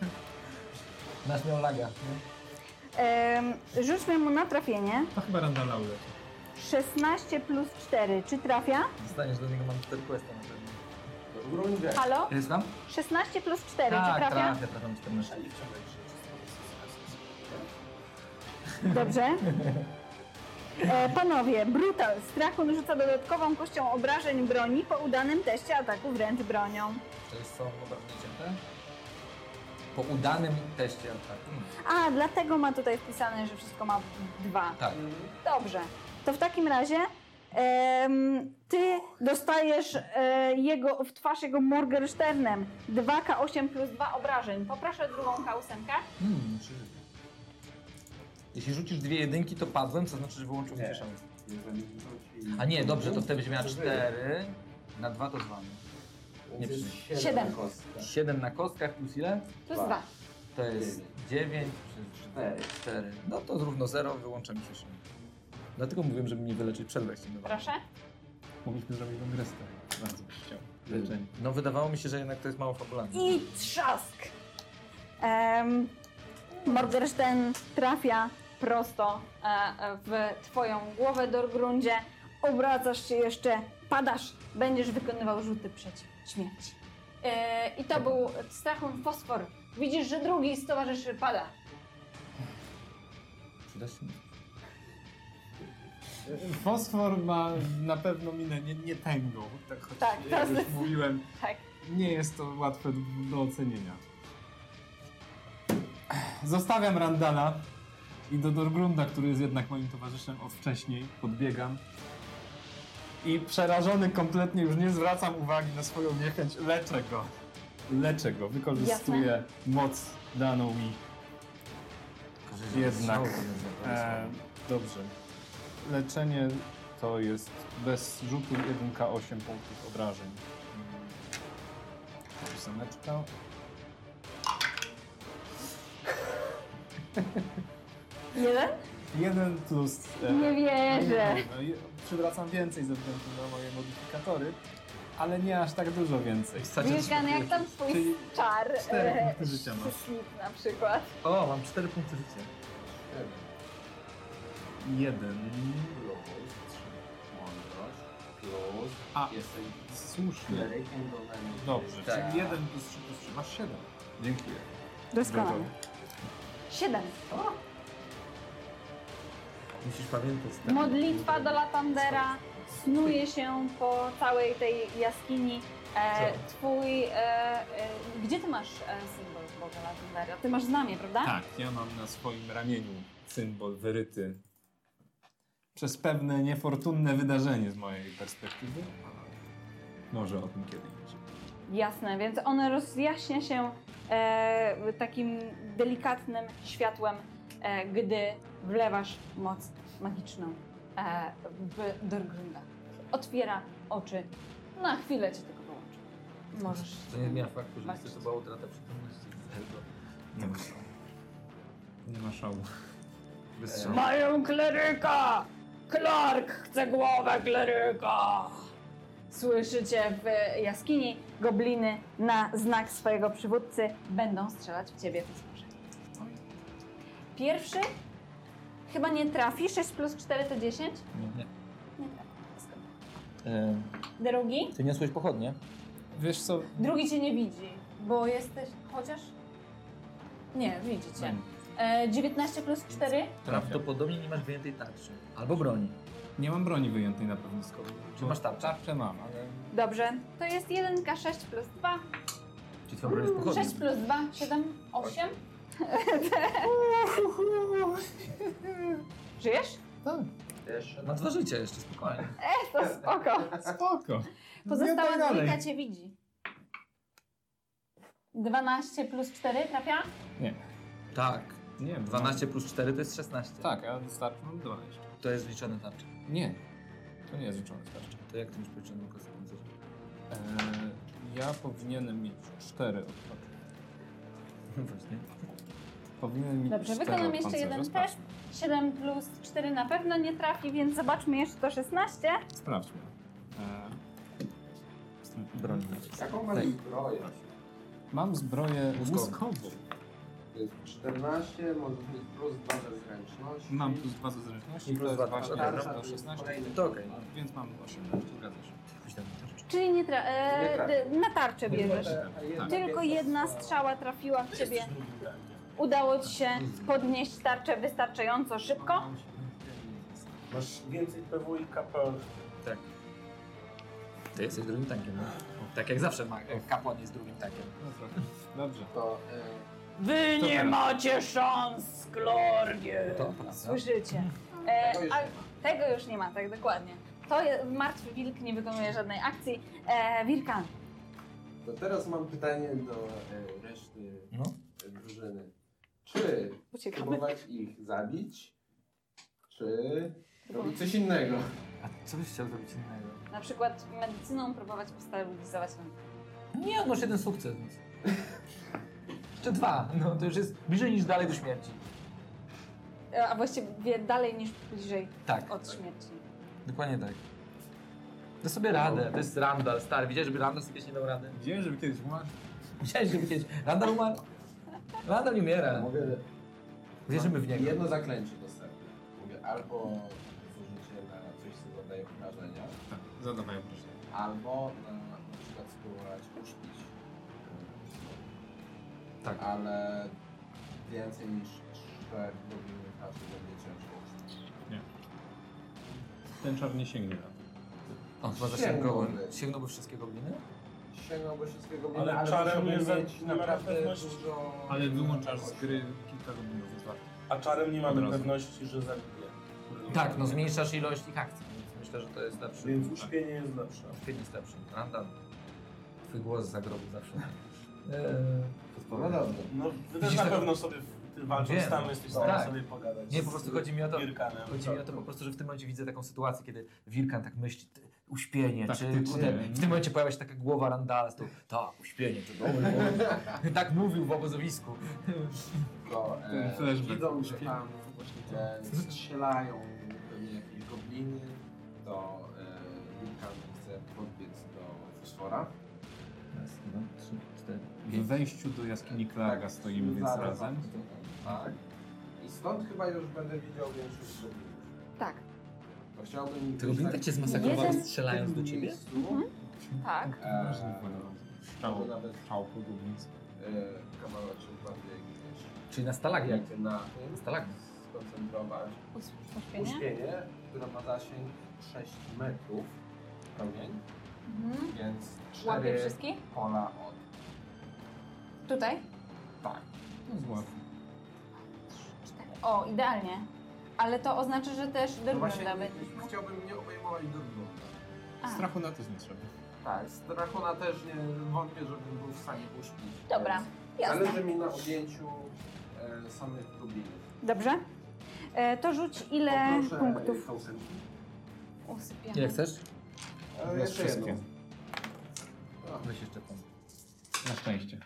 Speaker 3: Nasz miał laga. Nie?
Speaker 6: Em, rzućmy mu na trafienie.
Speaker 5: To chyba Randall Laurel.
Speaker 6: 16 plus 4, czy trafia?
Speaker 3: Dostaniesz do niego mam 4 questa na pewno.
Speaker 2: W rundzie.
Speaker 6: Halo?
Speaker 3: Ja Słucham?
Speaker 6: 16 plus 4, czy
Speaker 3: tak,
Speaker 6: trafia?
Speaker 3: trafia, trafiam 14.
Speaker 4: Nie wciągaj się.
Speaker 6: Dobrze. E, panowie, Brutal z strachu rzuca dodatkową kością obrażeń broni po udanym teście ataku wręcz bronią.
Speaker 3: To jest są obrażenia cięte? Po udanym teście ataku. Mm.
Speaker 6: A, dlatego ma tutaj wpisane, że wszystko ma dwa.
Speaker 3: Tak.
Speaker 6: Dobrze. To w takim razie em, ty dostajesz e, jego, w twarz jego Morgensternem 2K8 plus 2 obrażeń. Poproszę drugą K8.
Speaker 3: Mm, czyli- Jeśli rzucisz dwie jedynki, to padłem, co znaczy, że wyłączył
Speaker 2: Nie.
Speaker 3: ciszę.
Speaker 2: Jeżeli wróci...
Speaker 3: A nie, dobrze, to wtedy będzie miała 4. Na 2 to 2. nie
Speaker 2: Więc
Speaker 3: przyjdzie.
Speaker 2: jest siedem
Speaker 6: Siedem.
Speaker 2: kostek.
Speaker 3: 7 na kostkach plus ile?
Speaker 6: Plus
Speaker 2: Dwa.
Speaker 6: 2.
Speaker 3: To jest 9 przez 4.
Speaker 2: Cztery.
Speaker 3: 4. No to równo 0, wyłączam ciszę. Dlatego mówiłem, żeby mnie wyleczyć przed wejściem do walki.
Speaker 6: Proszę.
Speaker 5: Mogliśmy zrobić tą grę z tego. Bardzo byś chciał. Leczenie.
Speaker 3: No wydawało mi się, że jednak to jest mało fabularne.
Speaker 6: I trzask! Um, Morderszten trafia prosto e, e, w twoją głowę do grundzie. Obracasz się jeszcze, padasz, będziesz wykonywał rzuty przeciw śmierci.
Speaker 1: E, I to był strachun fosfor. Widzisz, że drugi z towarzyszy pada.
Speaker 3: Przyda się mi?
Speaker 5: Fosfor ma na pewno minę nie, nie tęgą. Tak, choć
Speaker 6: Tak,
Speaker 5: jak
Speaker 6: to
Speaker 5: już mówiłem.
Speaker 6: tak.
Speaker 5: Nie jest to łatwe do, do ocenienia. Zostawiam Randala i do Dorgrunda, który jest jednak moim towarzyszem od wcześniej, podbiegam. I przerażony kompletnie już nie zwracam uwagi na swoją niechęć. Leczę go. Leczę go. Wykorzystuję moc daną mi. Dobrze,
Speaker 9: Jednak.
Speaker 5: E, dobrze. Leczenie to jest bez rzutu 1K8 punktów obrażeń. Mm. Ósemeczka.
Speaker 1: Jeden?
Speaker 5: 1 plus...
Speaker 6: Tak.
Speaker 5: e,
Speaker 1: Nie wierzę.
Speaker 5: nie, no, je- Przywracam więcej ze względu na moje modyfikatory, ale nie aż tak dużo więcej.
Speaker 1: Wilkan, jak tam twój
Speaker 5: Czyli
Speaker 1: czar?
Speaker 5: cztery
Speaker 1: e,
Speaker 5: punkty życia masz.
Speaker 1: Slip na przykład.
Speaker 3: O, mam 4 punkty życia.
Speaker 5: Jeden.
Speaker 2: Plus, mądrość, plus,
Speaker 5: A.
Speaker 2: jesteś
Speaker 5: Słusznie.
Speaker 2: play and domain.
Speaker 5: Dobrze,
Speaker 3: Tak.
Speaker 5: czyli 1 plus 3 plus 3, masz 7. Dziękuję.
Speaker 1: Doskonale. Siedem.
Speaker 3: Musisz pamiętać. tak.
Speaker 1: Modlitwa do Latandera snuje się po całej tej jaskini. E, twój. E, e, gdzie ty masz e, symbol Boga Latandera? Ty masz znamie, prawda?
Speaker 5: Tak, ja mam na swoim ramieniu symbol wyryty przez pewne niefortunne wydarzenie z mojej perspektywy. Może o tym kiedyś.
Speaker 1: Jasne, więc on rozjaśnia się e, takim delikatnym światłem, e, gdy wlewasz moc magiczną e, w Dorgrunda. Otwiera oczy. Na chwilę cię tylko wyłączy. Możesz.
Speaker 3: To nie zmienia faktu, że jesteś to była utrata przytomności.
Speaker 5: Nie ma szału. Nie ma szału.
Speaker 3: Bez
Speaker 6: Mają kleryka! Clark chce głowę kleryka!
Speaker 1: Słyszycie w jaskini gobliny na znak swojego przywódcy będą strzelać w ciebie w morze. Pierwszy chyba nie trafi. 6 plus 4 to 10.
Speaker 3: Nie.
Speaker 1: Nie tak, trafi. Drugi?
Speaker 3: Ty niosłeś pochodnie?
Speaker 5: Wiesz co?
Speaker 1: Drugi cię nie widzi, bo jesteś. chociaż. Nie, widzicie. E, 19 plus 4?
Speaker 3: Tak, Prawdopodobnie nie masz więcej tarczy. Albo broni.
Speaker 5: Nie mam broni wyjętej na pewno z kogoś.
Speaker 3: Czy masz tarczę?
Speaker 5: Tarczę mam, ale...
Speaker 1: Dobrze. To jest 1K6 plus 2.
Speaker 3: Czy twoja broń jest pochodnie?
Speaker 1: 6 Mm, plus 2, 7, 8. Żyjesz?
Speaker 5: Tak,
Speaker 3: Ma no dwa życia jeszcze, spokojnie.
Speaker 1: To spoko.
Speaker 5: Spoko.
Speaker 1: Pozostała
Speaker 5: Zmiataj dalej.
Speaker 1: dwójka cię widzi. 12 plus 4 trafia?
Speaker 3: Tak.
Speaker 5: Nie, bo
Speaker 3: 12 plus 4 to jest 16.
Speaker 5: Mam... Tak, a starczy mam dwa jeszcze.
Speaker 3: To jest liczone tarczy.
Speaker 5: Nie. To nie jest życzone starczy.
Speaker 3: To jak ty masz policzone kostkę pancerza?
Speaker 5: Eee, ja powinienem mieć cztery od
Speaker 3: No Właśnie.
Speaker 5: Powinienem mieć
Speaker 1: Dobrze,
Speaker 5: cztery
Speaker 1: wykonam
Speaker 5: od
Speaker 1: jeszcze
Speaker 5: pancerza,
Speaker 1: jeden
Speaker 5: sprawdźmy.
Speaker 1: 7 plus 4 na pewno nie trafi, więc zobaczmy jeszcze to 16.
Speaker 5: Sprawdźmy. Eee, z tym-
Speaker 3: Broń.
Speaker 2: Jaką masz
Speaker 3: Play.
Speaker 2: zbroję?
Speaker 5: Mam zbroję łuskową.
Speaker 9: Łuskową.
Speaker 2: To jest 14, możesz mieć plus 2 do zręczności.
Speaker 5: Mam plus dwa ze zręczności,
Speaker 3: I
Speaker 5: to
Speaker 3: plus
Speaker 5: jest
Speaker 3: dwa,
Speaker 5: właśnie
Speaker 3: tak,
Speaker 5: raz
Speaker 2: tak.
Speaker 5: do 16,
Speaker 2: Kolejny.
Speaker 3: To okej.
Speaker 5: a- więc mam 18, zgadza się.
Speaker 3: Jakoś tam tarczy.
Speaker 1: Czyli nie tra-
Speaker 2: Nie
Speaker 1: e,
Speaker 2: trafi.
Speaker 1: d- na tarczę bierzesz.
Speaker 5: Tak.
Speaker 1: Tylko jedna strzała trafiła w ciebie. Udało ci się podnieść tarczę wystarczająco szybko.
Speaker 4: Masz więcej PW i KP.
Speaker 3: tak. Ty jesteś drugim tankiem. No. Tak jak zawsze ma, kapłan jest drugim tankiem.
Speaker 5: No trochę. Dobrze.
Speaker 2: To, e,
Speaker 6: Wy
Speaker 5: To
Speaker 6: nie
Speaker 5: teraz.
Speaker 6: macie szans z Clarkiem!
Speaker 3: To prawda.
Speaker 1: Słyszycie. E,
Speaker 2: Tego już
Speaker 1: a,
Speaker 2: nie
Speaker 1: tego już nie ma, tak dokładnie. To je, martwy wilk nie wykonuje żadnej akcji. E, Wirkan,
Speaker 2: to teraz mam pytanie do e, reszty
Speaker 3: No.
Speaker 2: e, drużyny. Czy
Speaker 1: uciekamy.
Speaker 2: próbować ich zabić, czy robić coś innego?
Speaker 3: A co byś chciał zrobić innego?
Speaker 1: Na przykład medycyną próbować ustabilizować rękę.
Speaker 3: Nie, odnosz jeden sukces. Więc. Czy dwa? No to już jest bliżej niż dalej do śmierci.
Speaker 1: E, A właściwie dalej niż bliżej
Speaker 3: Tak.
Speaker 1: od śmierci.
Speaker 3: Dokładnie tak. Da sobie radę. To jest Randall, stary. Widziałeś, żeby Randall sobie nie dał rady?
Speaker 5: Widziałem, żeby kiedyś umarł.
Speaker 3: Widziałeś, żeby kiedyś... Randall umarł? Randall nie umiera.
Speaker 2: Mogę
Speaker 3: Wierzymy
Speaker 2: mam
Speaker 3: w niego.
Speaker 2: Jedno zaklęcie dostępne. Mówię albo zużycie na coś, co zadaje obrażenia,
Speaker 5: Tak, zadawaj proszę.
Speaker 2: albo na, na przykład spróbować uśpić. e,
Speaker 3: Tak.
Speaker 2: Ale więcej niż trzech godzin raczej będzie ciężko uśpić.
Speaker 5: Ten czar nie sięgnie na to.
Speaker 3: On chyba
Speaker 2: Sięgnąłby.
Speaker 3: zasięgnąłby. Sięgnąłby wszystkie gobliny?
Speaker 2: Sięgnąłby wszystkiego,
Speaker 4: Ale
Speaker 2: ale
Speaker 4: czarem
Speaker 2: musiałby
Speaker 4: nie
Speaker 2: mieć
Speaker 4: za- nie ma
Speaker 2: naprawdę
Speaker 4: pewności.
Speaker 2: dużo...
Speaker 5: Ale wyłączasz z gry kilka goblinów, jest warto.
Speaker 4: A czarem nie mamy
Speaker 5: Od razu.
Speaker 4: pewności, że zabije.
Speaker 3: Tak, no zmniejszasz ilość ich akcji. więc Myślę, że to jest lepszy.
Speaker 4: Więc uśpienie jest lepsze.
Speaker 3: Film jest lepszy. Randall. Twój głos zagrobił zawsze.
Speaker 2: No dobrze.
Speaker 4: No, ty też
Speaker 3: Widzisz
Speaker 4: na
Speaker 3: tego-
Speaker 4: pewno sobie w- Ty walczysz
Speaker 3: Wiem.
Speaker 4: sam, jesteś w
Speaker 3: Tak.
Speaker 4: stanie sobie pogadać.
Speaker 3: Nie, po prostu chodzi mi o to-
Speaker 4: Gierkanem.
Speaker 3: Chodzi mi o to po prostu, że w tym momencie widzę taką sytuację, kiedy Wirkan tak myśli, ty, uśpienie, czy
Speaker 5: Taktycznie.
Speaker 3: kurde, w tym momencie pojawia się taka głowa Randala z tą, tak, uśpienie, to dobry pomysł. Tak mówił w obozowisku.
Speaker 2: Tylko, e,
Speaker 10: Ten flashback.
Speaker 2: widzą, że tam e, strzelają pewnie jakieś gobliny, to e, Wilkan chce podbiec do fosfora.
Speaker 5: Raz, dwa, trzy, cztery.
Speaker 10: W wejściu do jaskini Klarga stoimy więc
Speaker 2: Tak, zaraz.
Speaker 10: razem.
Speaker 2: Tak. I stąd chyba już będę widział większość goblinów.
Speaker 1: Tak.
Speaker 2: To chciałbym...
Speaker 5: Tego bym tak cię zmasakrował,
Speaker 1: Jeden-
Speaker 5: strzelając do ciebie?
Speaker 1: Tak.
Speaker 2: Eee,
Speaker 10: Ciało,
Speaker 2: nawet
Speaker 10: ciało podobnicy.
Speaker 2: e, kawałeczek bardziej gdzieś
Speaker 3: Czyli na
Speaker 5: Tak,
Speaker 3: stalagmie.
Speaker 2: jakby na tym
Speaker 3: Stalak.
Speaker 2: skoncentrować.
Speaker 1: Us- Uśpienie?
Speaker 2: Uśpienie, które ma zasięg 6 metrów promień,
Speaker 1: Mhm.
Speaker 2: więc
Speaker 1: Łapie
Speaker 2: 4
Speaker 1: wszystkich?
Speaker 2: pola od...
Speaker 1: Tutaj?
Speaker 2: Tak.
Speaker 10: To jest łatwe.
Speaker 1: O, idealnie. Ale to oznacza, że też
Speaker 2: No
Speaker 1: Dyrmunda
Speaker 2: właśnie
Speaker 1: nawet.
Speaker 2: nie- chciałbym nie obejmować Dorglunda.
Speaker 1: A.
Speaker 10: Strachu na też nie trzeba.
Speaker 2: Tak, strachona też nie wątpię, żebym był w stanie uśpić.
Speaker 1: Dobra, jasne.
Speaker 2: Zależy mi na objęciu e, samych Goblinów.
Speaker 6: Dobrze? E, to rzuć ile
Speaker 1: E,
Speaker 2: Poproszę e,
Speaker 6: punktów?
Speaker 2: kołsenki.
Speaker 1: Usypiamy.
Speaker 3: Ile chcesz?
Speaker 2: E,
Speaker 10: Nas
Speaker 2: jeszcze jedną.
Speaker 10: wszystkie.
Speaker 2: O,
Speaker 3: Weź jeszcze pan.
Speaker 10: Na szczęście.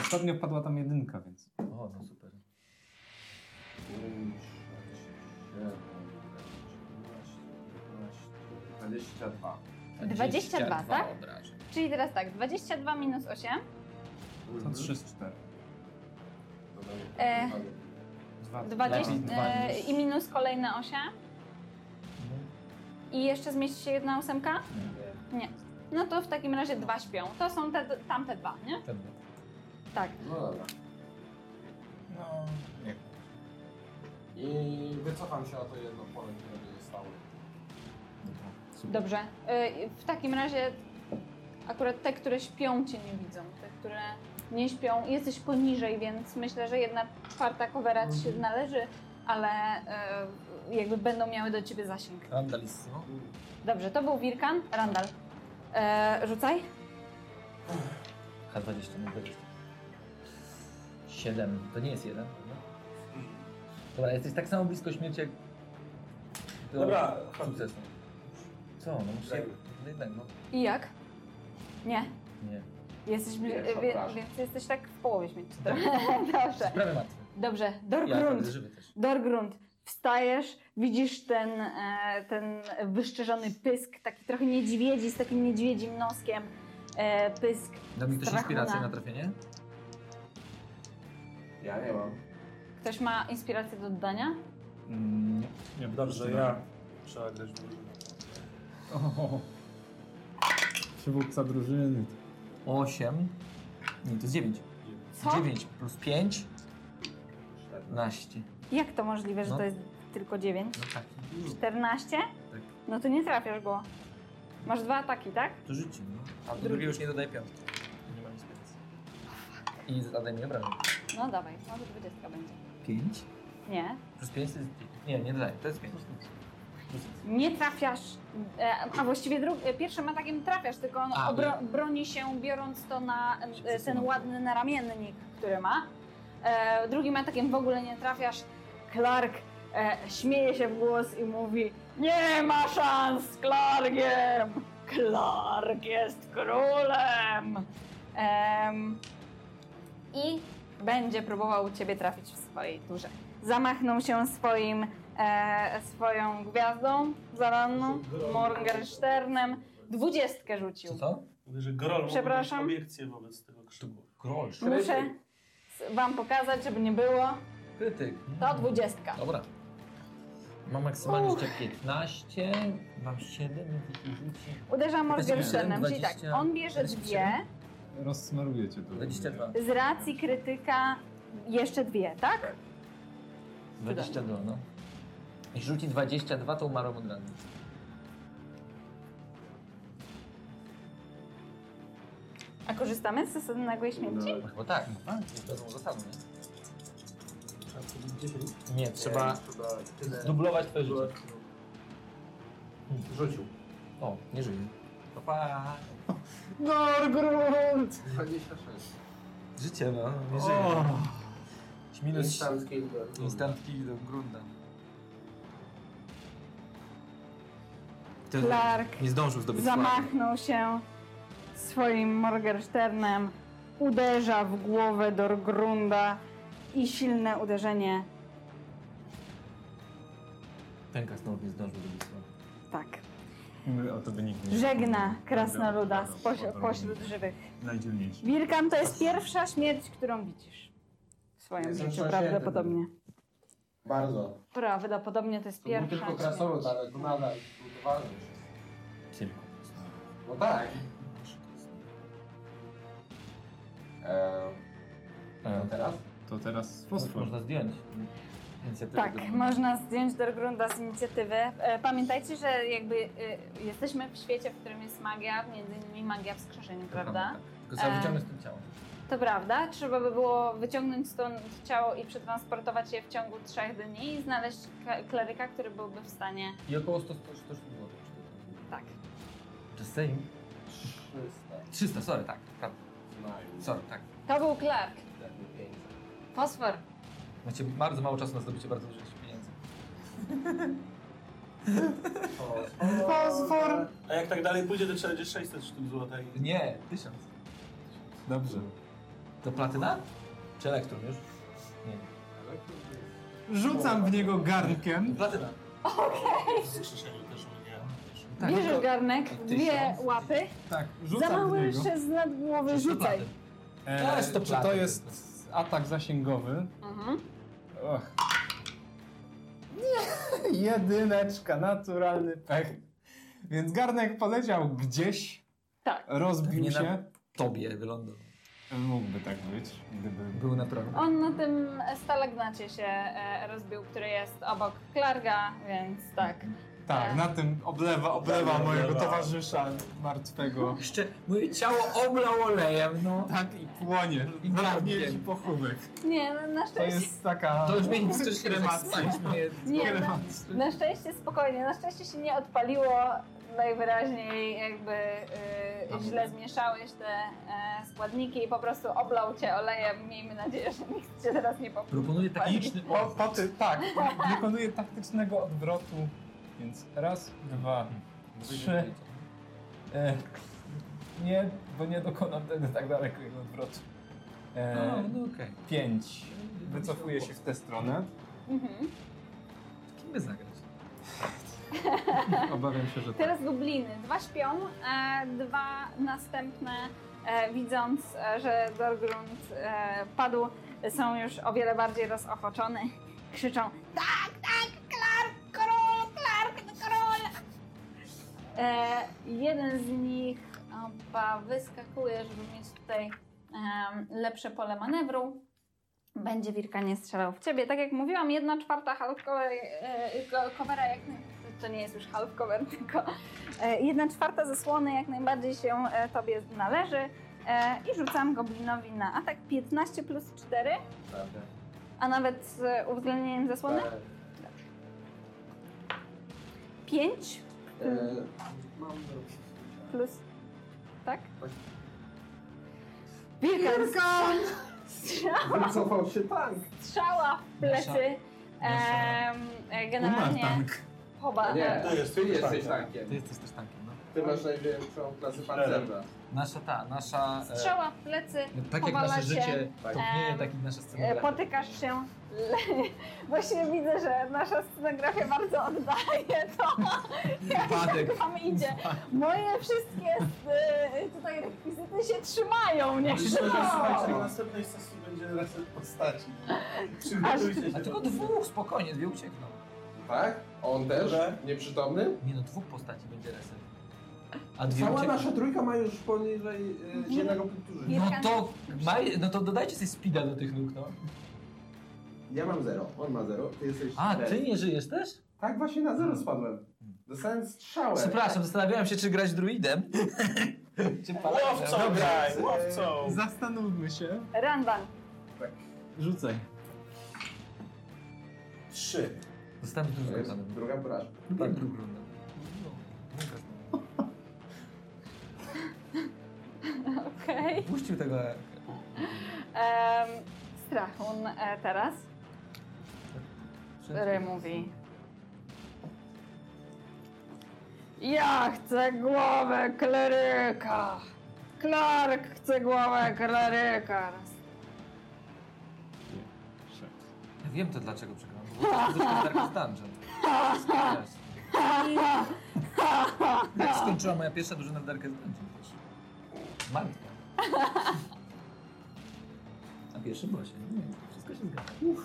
Speaker 10: Ostatnio padła tam jedynka, więc.
Speaker 3: O, no super.
Speaker 2: 5, 6, 7, 18, 19, 22.
Speaker 1: 22, tak?
Speaker 3: obrażeń.
Speaker 1: Czyli teraz tak, 22 minus 8.
Speaker 10: To 3 z 4.
Speaker 2: Mhm.
Speaker 1: E, 20,
Speaker 3: Dwa.
Speaker 1: e, I minus kolejne 8. I jeszcze zmieści się jedna ósemka? Nie. No to w takim razie dwa śpią. To są te, tamte dwa, nie?
Speaker 3: Pewnie.
Speaker 1: Tak.
Speaker 2: No dobra.
Speaker 10: No, nie.
Speaker 2: I wycofam się o to jedno pole, które mi zostało.
Speaker 1: Dobrze. Y, W takim razie akurat te, które śpią, cię nie widzą. Te, które nie śpią, jesteś poniżej, więc myślę, że jedna czwarta covera ci się należy, ale y, jakby będą miały do ciebie zasięg.
Speaker 3: Randalist, no.
Speaker 1: Dobrze, to był Wirkan. Randall, e, rzucaj.
Speaker 3: H20 na 20. 7. To nie jest jeden, prawda? Dobra, jesteś tak samo blisko śmierci jak... do
Speaker 4: Dobra,
Speaker 3: Sukcesu. Co? No muszę... No jednak, no.
Speaker 1: I jak? Nie.
Speaker 3: Nie.
Speaker 1: Jesteś, bli-
Speaker 2: Pierwsza,
Speaker 1: wie-
Speaker 2: proszę.
Speaker 1: więc jesteś tak w połowie śmierci.
Speaker 3: Tak.
Speaker 1: Dobrze.
Speaker 3: Prawie martwy.
Speaker 1: Dobrze,
Speaker 3: Ja
Speaker 1: Dorgrund.
Speaker 3: prawie żywy też.
Speaker 1: Dorgrund, wstajesz, widzisz ten, e, ten wyszczerzony pysk, taki trochę niedźwiedzi, z takim niedźwiedzim noskiem. E, pysk.
Speaker 3: Da mi ktoś
Speaker 1: Strachuna.
Speaker 3: inspirację na trafienie?
Speaker 2: Ja nie mam.
Speaker 1: Ktoś ma inspirację do dodania?
Speaker 10: Mm, nie. nie
Speaker 4: Dobrze, ja. Trzeba grać w drużynę.
Speaker 10: Ohoho. Przywódca drużyny.
Speaker 3: 8. Nie, to jest 9.
Speaker 1: Co?
Speaker 3: 9 plus 5. 14.
Speaker 6: Jak to możliwe, że
Speaker 3: No.
Speaker 6: to jest tylko 9?
Speaker 3: No tak.
Speaker 6: 14?
Speaker 3: Tak.
Speaker 6: No to nie trafiasz go. Masz dwa ataki, tak?
Speaker 3: To życie, no. A do drugiej już nie dodaję piątki. Nie mam inspiracji. I zadaj mi obrażeń.
Speaker 1: No dawaj, może 20 będzie.
Speaker 3: 5?
Speaker 1: Nie.
Speaker 3: Plus 5 to jest... Nie, nie dodaję. To jest 5.
Speaker 1: Nie trafiasz, e, a właściwie dru- e, pierwszym atakiem trafiasz, tylko on
Speaker 3: A,
Speaker 1: obro- broni się biorąc to na e, ten ładny naramiennik, który ma. E, drugim atakiem w ogóle nie trafiasz. Clark e, śmieje się w głos i mówi Nie ma szans z Clarkiem! Clark jest królem! Em, I będzie próbował ciebie trafić w swojej turze. Zamachnął się swoim e, swoją gwiazdą zaranną, Morgensternem. Dwudziestkę
Speaker 3: Co
Speaker 1: rzucił.
Speaker 3: to?
Speaker 4: Mówię, że Grol
Speaker 1: Przepraszam.
Speaker 4: Przepraszam. obiekcję wobec tego krzyku.
Speaker 3: Grolsz.
Speaker 1: Muszę s- wam pokazać, żeby nie było.
Speaker 3: Krytyk. Mhm.
Speaker 1: To dwudziestka.
Speaker 3: Dobra. Mam maksymalnie jeszcze 15, mam 7, jeśli rzuci.
Speaker 1: Uderza
Speaker 3: Siedem,
Speaker 1: Morgensternem, czyli tak,
Speaker 3: dwadzieścia,
Speaker 1: on bierze
Speaker 3: czterdzieści
Speaker 1: dwie,
Speaker 10: Rozsmaruję cię tu.
Speaker 3: 22.
Speaker 1: z racji krytyka jeszcze dwie, tak?
Speaker 3: 22, no. Jeśli rzuci 22, to umarł od rany.
Speaker 1: A korzystamy z zasady nagłej śmierci?
Speaker 2: No,
Speaker 3: Bo tak, jest pewną zasadą,
Speaker 4: Trzeba zrobić 10.
Speaker 3: nie? Nie, trzeba
Speaker 2: Trzeba tyle...
Speaker 3: zdublować twoje życie.
Speaker 2: Rzucił.
Speaker 3: O, nie żyje. Pa, pa.
Speaker 2: 26.
Speaker 3: Życie, no. Nie
Speaker 11: O,
Speaker 3: żyje. Minus
Speaker 2: Instant kill. do-
Speaker 3: instant kill do grunda. Ten
Speaker 1: Clark
Speaker 3: Nie zdążył zdobyć sławy.
Speaker 1: zamachnął się swoim Morgensternem, uderza w głowę Dorgrunda i silne uderzenie.
Speaker 3: Ten stąd nie zdążył zdobyć sławy.
Speaker 1: Tak.
Speaker 5: A to by nikt nie
Speaker 1: Żegna krasnoluda spośród, pośród żywych.
Speaker 5: Najdzielniejszy.
Speaker 1: Wilkan to jest pierwsza śmierć, którą widzisz w swoim
Speaker 2: Jestem
Speaker 1: życiu,
Speaker 2: sąsiadem.
Speaker 1: prawdopodobnie.
Speaker 2: Bardzo.
Speaker 1: Prawdopodobnie no, to jest
Speaker 2: To był
Speaker 1: pierwsza
Speaker 2: tylko tak?
Speaker 1: śmierć.
Speaker 2: krasolud, ale to nadal był to ważny wszystko.
Speaker 3: Tylko.
Speaker 2: No tak. Eee,
Speaker 3: E,
Speaker 2: to teraz?
Speaker 11: to teraz
Speaker 3: fosfor
Speaker 11: fosfor.
Speaker 3: można zdjąć. Inicjatywę
Speaker 1: Tak,
Speaker 3: do-
Speaker 1: można zdjąć Dorgrunda z inicjatywy. E, Pamiętajcie, że jakby e, jesteśmy w świecie, w którym jest magia, między innymi magia wskrzeszenia,
Speaker 3: Tylko tam,
Speaker 1: prawda?
Speaker 3: tak. Tylko trzeba
Speaker 1: E,
Speaker 3: wyciągnąć tym ciało.
Speaker 1: To prawda, trzeba by było wyciągnąć stąd ciało i przetransportować je w ciągu trzech dni i znaleźć k- kleryka, który byłby w stanie.
Speaker 3: I około 100 100 sztuk złotych. czy to-
Speaker 1: Tak.
Speaker 3: Czy Sejm?
Speaker 2: 300.
Speaker 3: 300, sorry, tak. Prawda.
Speaker 2: Znajmniej.
Speaker 3: Sorry, tak.
Speaker 1: To był Clark.
Speaker 2: Jakby 500.
Speaker 1: Fosfor.
Speaker 3: Macie bardzo mało czasu na zdobycie bardzo dużo pieniędzy.
Speaker 4: Fosfor! A jak tak dalej pójdzie, to trzeba będzie 600 sztuk złota i...
Speaker 3: Nie, 1000.
Speaker 5: Dobrze.
Speaker 3: To platyna? Czy elektron już? Nie.
Speaker 5: Rzucam w niego garnkiem.
Speaker 3: Platyna.
Speaker 4: Okej! Wskrzeszeniu też mnie.
Speaker 1: Bierze garnek,
Speaker 3: Tysiąc.
Speaker 1: dwie łapy. Tak.
Speaker 5: Tak,
Speaker 1: Za
Speaker 5: rzucam w
Speaker 1: mały
Speaker 5: niego.
Speaker 1: jeszcze z nad głowy
Speaker 3: Wszystko
Speaker 1: rzucaj.
Speaker 3: platyn.
Speaker 5: E,
Speaker 3: Aż to
Speaker 5: czy
Speaker 3: platy
Speaker 5: to
Speaker 3: to
Speaker 5: jest atak zasięgowy?
Speaker 1: Mhm.
Speaker 5: Och. Nie, jedyneczka, naturalny pech. Więc garnek poleciał gdzieś.
Speaker 1: Tak.
Speaker 5: Rozbił
Speaker 3: Pewnie na-
Speaker 5: się.
Speaker 3: Tobie wylądował.
Speaker 5: Mógłby tak być, gdyby
Speaker 3: Był naturalny.
Speaker 1: On na tym stalagnacie się e, rozbił, który jest obok Clarka, więc tak.
Speaker 5: Tak, na tym oblewa, oblewa
Speaker 4: Tak,
Speaker 5: mojego
Speaker 4: oblewa.
Speaker 5: towarzysza martwego.
Speaker 3: Jeszcze moje ciało oblał olejem, no.
Speaker 5: Tak i płonie.
Speaker 3: I
Speaker 5: Braknie
Speaker 3: garnkiem.
Speaker 5: ci pochówek.
Speaker 1: Nie, no, na
Speaker 5: To
Speaker 1: szczęście.
Speaker 5: jest taka...
Speaker 3: To już mnie nic też
Speaker 5: kremacja.
Speaker 1: Nie, na,
Speaker 5: Kremacja.
Speaker 1: na szczęście spokojnie, na szczęście się nie odpaliło. Najwyraźniej jakby y, źle zmieszałeś te e, składniki i po prostu oblał cię olejem. Miejmy nadzieję, że nikt cię teraz nie popłynie.
Speaker 3: Proponuję taktyczny
Speaker 5: Po,
Speaker 3: o.
Speaker 5: po ty, tak, wykonuje taktycznego odwrotu. Więc raz, dwa, trzy. E, nie, bo nie dokonam wtedy tak daleko jego odwrotu.
Speaker 3: No,
Speaker 5: E,
Speaker 3: no okej.
Speaker 5: pięć. Wycofuję się w tę stronę.
Speaker 1: Mhm.
Speaker 3: Kim by zagrać?
Speaker 5: Obawiam się, że tak.
Speaker 1: Teraz gobliny. Dwa śpią, e, dwa następne, e, widząc, e, że Dorgrund e, padł, są już o wiele bardziej rozochoczone. Krzyczą: Tak, tak, Clark, król, Clark, król! E, jeden z nich opa, wyskakuje, żeby mieć tutaj em, lepsze pole manewru. Będzie Wirka nie strzelał w ciebie. Tak jak mówiłam, jedna czwarta half cover, e, go- covera jak naj... to nie jest już half cover, tylko e, jedna czwarta zasłony jak najbardziej się e, tobie należy. E, I rzucam goblinowi na atak 15 plus 4,
Speaker 2: Prawda.
Speaker 1: a nawet z uwzględnieniem zasłony
Speaker 2: Tak.
Speaker 1: 5
Speaker 2: Eee, Mam dobrze.
Speaker 1: plus. Tak?
Speaker 2: Tak.
Speaker 1: Wirka!
Speaker 2: Wycofał się tank.
Speaker 1: Strzała w plecy.
Speaker 3: Nasza-
Speaker 1: em, e, generalnie poba.
Speaker 2: Nie,
Speaker 4: To jest
Speaker 2: ty
Speaker 4: tylko
Speaker 2: jesteś
Speaker 4: tank.
Speaker 2: tankiem.
Speaker 3: Ty jesteś też tankiem, no.
Speaker 2: Ty masz największą klasę pancerna.
Speaker 3: Nasza ta, nasza... e,
Speaker 1: Strzała w plecy.
Speaker 3: Tak jak
Speaker 1: powala
Speaker 3: nasze
Speaker 1: się,
Speaker 3: życie
Speaker 2: tak.
Speaker 3: topnieje,
Speaker 1: em,
Speaker 3: tak i nasza
Speaker 1: E,
Speaker 3: scenografia.
Speaker 1: Potykasz się. Właśnie widzę, że nasza scenografia bardzo oddaje to,
Speaker 3: Wypadek.
Speaker 1: jak wam idzie. Moje wszystkie e, tutaj rekwizyty się trzymają, nie? No.
Speaker 4: Słuchajcie, na następnej sesji będzie reset postaci. Przygotujcie się.
Speaker 3: A tylko dwóch, spokojnie, dwie uciekną.
Speaker 2: Tak? On też?
Speaker 4: Dobrze.
Speaker 2: Nieprzytomny?
Speaker 3: Nie no, dwóch postaci będzie reset. A dwie
Speaker 2: Cała
Speaker 3: uciekną.
Speaker 2: nasza trójka ma już poniżej e, jednego punktu życia.
Speaker 3: No to, ma, no to dodajcie sobie speeda do tych nóg, no.
Speaker 2: Ja mam zero, on ma zero, ty jesteś
Speaker 3: A,
Speaker 2: cztery.
Speaker 3: ty nie żyjesz też?
Speaker 2: Tak właśnie na zero spadłem. Dostałem strzałę.
Speaker 3: Przepraszam, zastanawiałem się, czy grać druidem. czy
Speaker 4: Łowcą
Speaker 3: palaczem.
Speaker 4: graj, łowcą!
Speaker 5: Zastanówmy się.
Speaker 1: Randan.
Speaker 5: Rzucaj.
Speaker 4: Trzy.
Speaker 3: Zostałem
Speaker 2: To
Speaker 3: drugą
Speaker 2: jest
Speaker 3: tam.
Speaker 2: druga porażka.
Speaker 3: Tak, drugą rundę.
Speaker 1: Okej.
Speaker 3: Puścił tego.
Speaker 1: E, Em, Strachun e, teraz, który mówi... Ja chcę głowę kleryka! Clark chce głowę kleryka!
Speaker 3: Ja wiem to dlaczego przegrałem, bo to jest Darkest Dungeon. Jak skończyła moja pierwsza drużyna w Darkest Dungeon też. Martka. Na pierwszym bosie. Nie, wszystko się zgadza.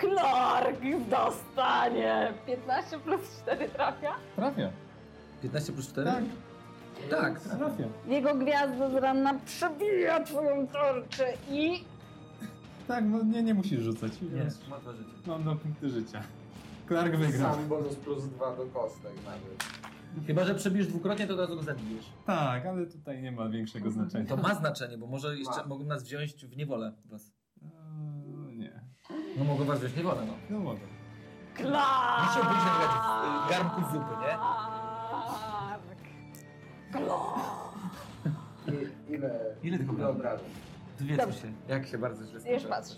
Speaker 1: Clark dostanie! 15 plus 4 trafia?
Speaker 10: Trafia.
Speaker 3: 15 plus 4?
Speaker 10: Tak.
Speaker 3: Tak.
Speaker 10: Trafia.
Speaker 1: Jego gwiazda z rana przebija twoją torczę i...
Speaker 10: Tak, no nie, nie musisz rzucać.
Speaker 3: Nie, ma dwa życie.
Speaker 10: Mam dwa punkty życia. Clark wygrał.
Speaker 2: Sam bonus plus dwa do kostek nawet.
Speaker 3: Chyba, że przebijesz dwukrotnie, to od razu go zabijesz.
Speaker 10: Tak, ale tutaj nie ma większego znaczenia.
Speaker 3: Mhm. To ma znaczenie, bo może jeszcze
Speaker 2: Ma.
Speaker 3: mogą nas wziąć w niewolę. Was.
Speaker 10: Eee, nie.
Speaker 3: No mogą was wziąć w niewolę, no.
Speaker 10: No mogę.
Speaker 1: Clark!
Speaker 3: Musiałbyś na przykład w y, garnku zupy, nie?
Speaker 1: Clark!
Speaker 2: I, ile?
Speaker 3: Ile tylko
Speaker 2: Ile
Speaker 3: brało?
Speaker 2: obrażeń?
Speaker 3: Dwie co się. Jak się bardzo źle
Speaker 1: Już
Speaker 3: skończyło.
Speaker 1: patrz.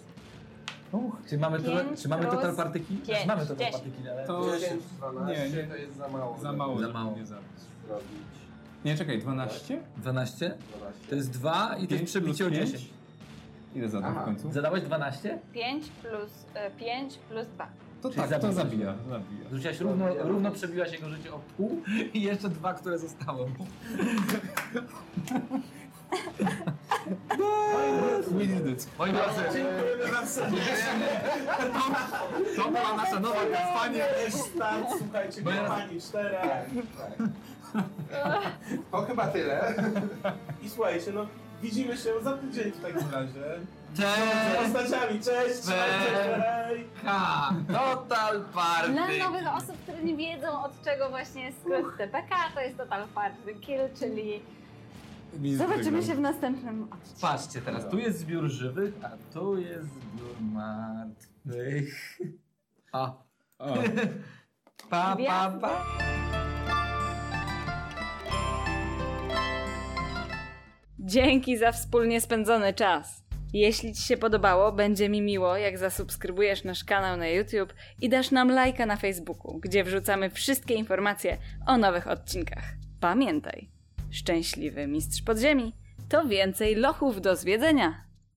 Speaker 3: Uch, czy mamy, total,
Speaker 1: Pięć
Speaker 3: czy mamy total
Speaker 1: plus
Speaker 3: partyki?
Speaker 1: pięć,
Speaker 3: mamy total
Speaker 1: dziesięć.
Speaker 3: partyki, ale...
Speaker 10: To-
Speaker 2: 10, 12
Speaker 10: nie, nie.
Speaker 2: to jest za mało.
Speaker 10: Za
Speaker 2: żeby
Speaker 10: mało,
Speaker 3: Za
Speaker 10: żeby
Speaker 3: mało.
Speaker 10: nie zabić.
Speaker 2: Zrobić
Speaker 10: Nie, czekaj, 12?
Speaker 3: 12?
Speaker 2: 12.
Speaker 3: To jest 2 i to jest
Speaker 10: Pięć
Speaker 3: przebicie o
Speaker 10: plus pięć?
Speaker 3: 10.
Speaker 10: Ile zadał
Speaker 2: Aha.
Speaker 10: w końcu?
Speaker 3: Zadałeś 12?
Speaker 1: 5 plus 5 plus 2.
Speaker 10: To
Speaker 3: Czyli
Speaker 10: tak,
Speaker 3: zabija.
Speaker 10: to zabija. zabija.
Speaker 3: Zrzuciłaś równo, równo przebiłaś jego życie o pół i jeszcze dwa, które zostały.
Speaker 10: We did it.
Speaker 3: Moi drodzy, to była nasza nowa kampania.
Speaker 4: Start, słuchajcie,
Speaker 3: Bo ja-
Speaker 4: kochani, cztery.
Speaker 2: To chyba tyle.
Speaker 4: I słuchajcie, no widzimy się za tydzień w takim razie. Z
Speaker 3: Cześć!
Speaker 4: postaciami, cześć!
Speaker 3: Cześć.
Speaker 4: Cześć!
Speaker 3: Total
Speaker 1: Dla
Speaker 3: Party!
Speaker 1: nowych osób, które nie wiedzą od czego właśnie jest skrót TPK, to jest Total Party Kill, czyli
Speaker 10: Wygrał.
Speaker 6: Zobaczymy się w następnym odcinku.
Speaker 3: Patrzcie teraz, tu jest zbiór żywych, a tu jest zbiór martwych. A.
Speaker 10: O.
Speaker 3: Pa, pa,
Speaker 1: Gwiazdy.
Speaker 3: pa.
Speaker 6: Dzięki za wspólnie spędzony czas. Jeśli Ci się podobało, będzie mi miło, jak zasubskrybujesz nasz kanał na YouTube i dasz nam lajka na Facebooku, gdzie wrzucamy wszystkie informacje o nowych odcinkach. Pamiętaj, szczęśliwy mistrz podziemi to więcej lochów do zwiedzenia.